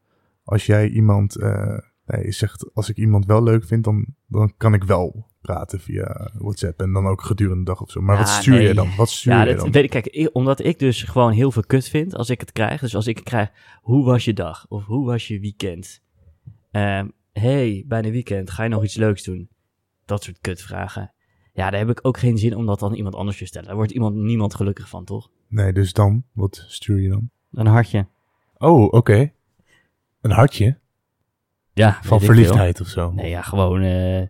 S2: als jij iemand, eh, nee, je zegt als ik iemand wel leuk vind, dan, dan kan ik wel praten via WhatsApp. En dan ook gedurende de dag of zo. Maar
S1: Ja,
S2: wat stuur
S1: nee.
S2: je dan? Wat stuur
S1: Ja,
S2: je
S1: dat
S2: dan?
S1: weet ik. Kijk, ik- omdat ik dus gewoon heel veel kut vind als ik het krijg. Dus als ik krijg, hoe was je dag? Of hoe was je weekend? Ehm, hey, bijna weekend, ga je nog iets leuks doen? Dat soort kutvragen. Ja, daar heb ik ook geen zin om dat aan iemand anders te stellen. Daar wordt iemand, niemand gelukkig van, toch?
S2: Nee, dus dan, wat stuur je dan?
S1: Een hartje.
S2: Oh, oké. Een hartje
S1: Ja,
S2: van
S1: weet ik veel.
S2: verliefdheid of zo.
S1: Nee, ja, gewoon... eh,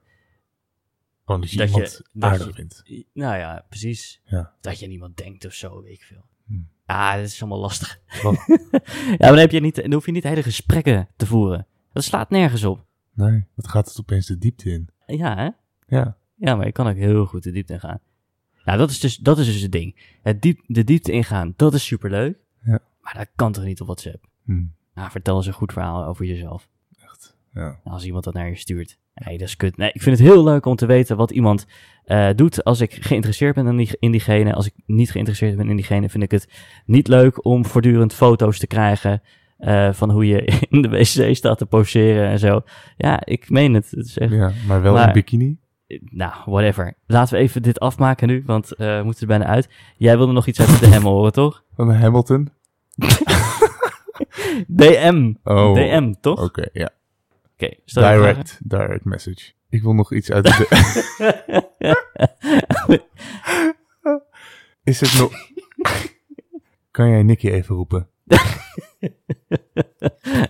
S2: Gewoon dat je
S1: Dat je-
S2: iemand
S1: dat
S2: aardig
S1: je-
S2: vindt.
S1: I- Nou ja, precies.
S2: Ja.
S1: Dat je aan iemand denkt of zo, weet ik veel.
S2: Hm.
S1: Ja, dat is allemaal lastig.
S2: Wat?
S1: ja, maar dan, heb je niet, dan hoef je niet hele gesprekken te voeren. Dat slaat nergens op.
S2: Nee, wat gaat het opeens de diepte in?
S1: Ja, hè?
S2: Ja.
S1: Ja, maar je kan ook heel goed de diepte ingaan. Nou, dat is dus, dat is dus het ding. Het diep, de diepte ingaan, dat is superleuk.
S2: Ja.
S1: Maar dat kan toch niet op WhatsApp?
S2: Hm,
S1: Nou, vertel eens een goed verhaal over jezelf.
S2: echt. Ja.
S1: Nou, als iemand dat naar je stuurt. Nee, dat is kut. Nee, ik vind het heel leuk om te weten wat iemand eh, doet als ik geïnteresseerd ben in, die, in diegene. Als ik niet geïnteresseerd ben in diegene, vind ik het niet leuk om voortdurend foto's te krijgen eh, van hoe je in de wc staat te poseren en zo. Ja, ik meen het. Het is echt...
S2: ja, maar wel
S1: Maar-
S2: in bikini?
S1: Nou, whatever. Laten we even dit afmaken nu, want eh, we moeten er bijna uit. Jij wilde nog iets uit de hemel horen, toch?
S2: Van Hamilton?
S1: DM.
S2: Oh,
S1: DM, toch?
S2: oké,
S1: Oké,
S2: ja.
S1: stel je vragen.
S2: direct, direct message. Ik wil nog iets uit de... Is het nog... kan jij Nicky even roepen?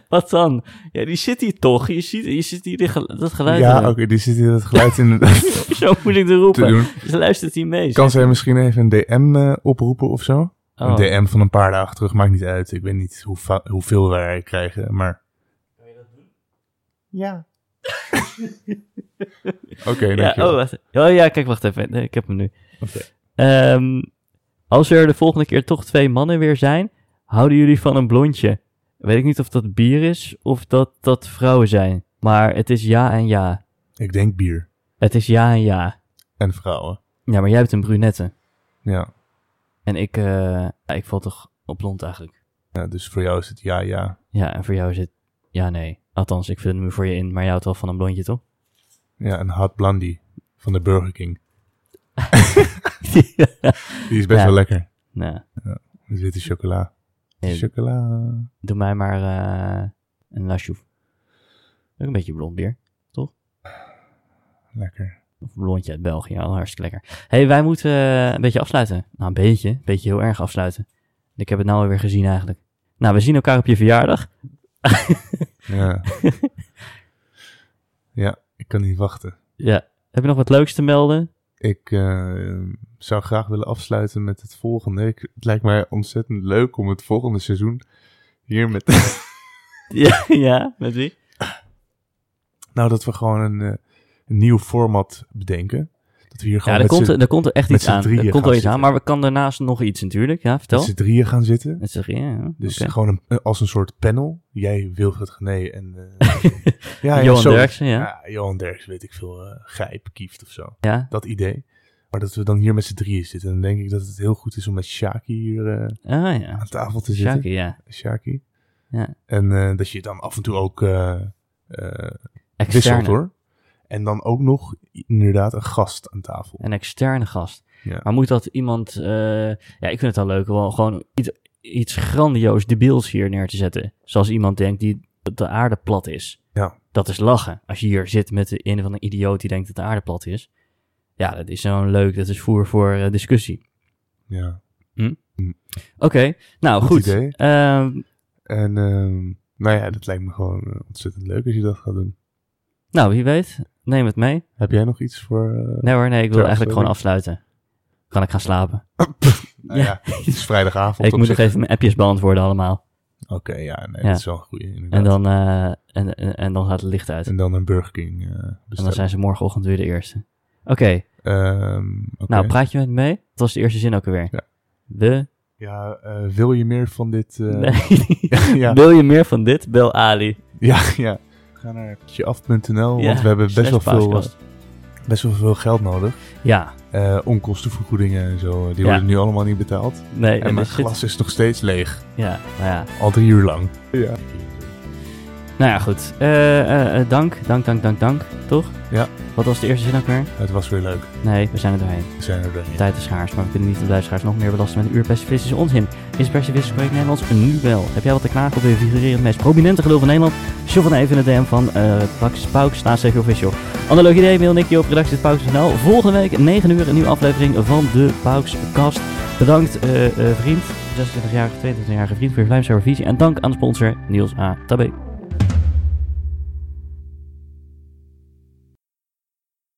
S1: Wat dan? Ja, die zit hier toch? Je ziet, je ziet hier dit gel- dat geluid.
S2: ja,
S1: in.
S2: oké, die zit hier dat geluid inderdaad
S1: Zo moet ik er
S2: te
S1: roepen.
S2: doen.
S1: Ze luistert hier mee.
S2: Kan zij misschien even een DM eh, oproepen of zo?
S1: Oh.
S2: Een DM van een paar dagen terug, maakt niet uit. Ik weet niet hoe va- hoeveel wij krijgen, maar... Kan je dat doen? Ja. Oké,
S1: ja,
S2: dankjewel.
S1: oh, wacht. oh ja, kijk, wacht even. Nee, ik heb hem nu.
S2: Oké.
S1: Ehm, als er de volgende keer toch twee mannen weer zijn, houden jullie van een blondje? Weet ik niet of dat bier is of dat dat vrouwen zijn. Maar het is ja en ja.
S2: Ik denk bier
S1: Het is ja en ja.
S2: en vrouwen.
S1: Ja, maar jij hebt een brunette.
S2: Ja.
S1: En ik, eh, ja, ik val toch op blond eigenlijk.
S2: ja, dus voor jou is het ja, ja.
S1: Ja, en voor jou is het ja, nee. Althans, ik vind hem voor je in, maar jij houdt wel van een blondje, toch?
S2: Ja, een hot blondie van de Burger King. Die is best
S1: Ja.
S2: wel lekker.
S1: nou,
S2: Met witte chocola.
S1: eh,
S2: Chocola.
S1: doe mij maar eh, een lasjoef. Ook een beetje blond bier.
S2: Lekker.
S1: Of blondje uit België, al hartstikke lekker. hey, wij moeten eh, een beetje afsluiten. Nou, een beetje. Een beetje heel erg afsluiten. Ik heb het nou alweer gezien eigenlijk. Nou, we zien elkaar op je verjaardag.
S2: Ja. ja, ik kan niet wachten.
S1: Ja. Heb je nog wat leuks te melden?
S2: Ik eh, zou graag willen afsluiten met het volgende. Ik, het lijkt mij ontzettend leuk om het volgende seizoen hier met...
S1: Ja, ja met wie?
S2: nou, dat we gewoon een, eh, een nieuw format bedenken. Dat we hier
S1: Ja,
S2: gewoon
S1: daar
S2: met
S1: komt,
S2: z'n-
S1: er- daar komt er echt
S2: met
S1: iets
S2: z'n
S1: aan. Er
S2: drieën
S1: komt wel
S2: gaan
S1: iets aan,
S2: zitten.
S1: maar we kan daarnaast nog iets natuurlijk. Ja,
S2: met
S1: vertel.
S2: z'n drieën gaan zitten.
S1: Met z'n drieën, ja.
S2: Dus
S1: oké.
S2: gewoon een, als een soort panel. Jij, Wilfred Gené en... eh, ja, ja,
S1: Johan
S2: zo.
S1: Derksen, ja.
S2: Ja, Johan Derks, weet ik veel, eh Gijp, Kieft of zo.
S1: Ja,
S2: Dat idee. Maar dat we dan hier met z'n drieën zitten. Dan denk ik dat het heel goed is om met Shaki hier eh,
S1: ah ja.
S2: aan tafel te zitten.
S1: Shaki, ja.
S2: Shaki.
S1: Ja.
S2: En eh, dat je dan af en toe ook eh, eh, wisselt
S1: Externe.
S2: hoor. En dan ook nog inderdaad een gast aan tafel.
S1: Een externe gast.
S2: Ja.
S1: Maar moet dat iemand... eh, ja, ik vind het wel leuk om gewoon iets, iets grandioos debiels hier neer te zetten. Zoals iemand denkt die dat de aarde plat is.
S2: Ja.
S1: Dat is lachen. Als je hier zit met de een van een idioot die denkt dat de aarde plat is. Ja, dat is zo'n leuk, dat is voer voor eh, discussie.
S2: Ja.
S1: Oké, nou
S2: Goed
S1: goed.
S2: idee.
S1: Ehm,
S2: En ehm, nou ja, dat lijkt me gewoon eh, ontzettend leuk als je dat gaat doen.
S1: nou, wie weet. Neem het mee.
S2: Heb jij nog iets voor... eh,
S1: Nee hoor, nee, ik wil
S2: Ter
S1: eigenlijk gewoon
S2: afsluiting.
S1: afsluiten. Kan ik gaan slapen?
S2: Nou ja, het is vrijdagavond.
S1: ik
S2: op
S1: moet nog
S2: zich.
S1: even mijn appjes beantwoorden allemaal.
S2: Oké, ja, nee,
S1: Ja.
S2: dat is wel een goeie. Inderdaad.
S1: En dan, eh, en, en, en dan gaat het licht uit.
S2: En dan een Burger King eh,
S1: En dan
S2: bestellen.
S1: zijn ze morgenochtend weer de eerste. Oké,
S2: Ehm, oké.
S1: nou praat je met me mee? Dat was de eerste zin ook alweer.
S2: Ja.
S1: De...
S2: Ja, eh, wil je meer van dit? eh,
S1: Nee.
S2: ja,
S1: Wil je meer van dit? Bel Ali.
S2: ja, ja. Ga naar af.nl,
S1: Ja,
S2: want we hebben best wel,
S1: slash
S2: veel,
S1: Paasgast.
S2: eh, best wel veel geld nodig.
S1: Ja,
S2: Eh, onkostenvergoedingen en zo, eh, die
S1: Ja.
S2: worden nu allemaal niet betaald.
S1: nee.
S2: en mijn
S1: dus zit-
S2: glas is nog steeds leeg,
S1: Ja, nou ja.
S2: al drie uur lang. Ja,
S1: Nou ja, goed. Eh, eh, eh, dank, dank, dank, dank, dank. Toch?
S2: Ja.
S1: Wat was de eerste zin ook weer?
S2: het was weer leuk.
S1: Nee, we zijn er doorheen.
S2: We zijn er doorheen.
S1: De tijd is schaars, maar we kunnen niet de luisteraars nog meer belasten met een uur pessimistisch onzin. Is pessimistisch correct Nederlands? Nu wel. Heb jij wat te knagen op de figurerend meest prominente gelul van Nederland? Show van even in de DM van eh Pax Pauks, naast Official. Analoog idee, mail Nicky op redactie.pauks.nl. Volgende week, 9 uur, een nieuwe aflevering van de Paukskast. Bedankt eh eh, vriend, 26-jarige, 22-jarige vriend voor je vlijmstarre visie. En dank aan de sponsor Niels A. Tabé.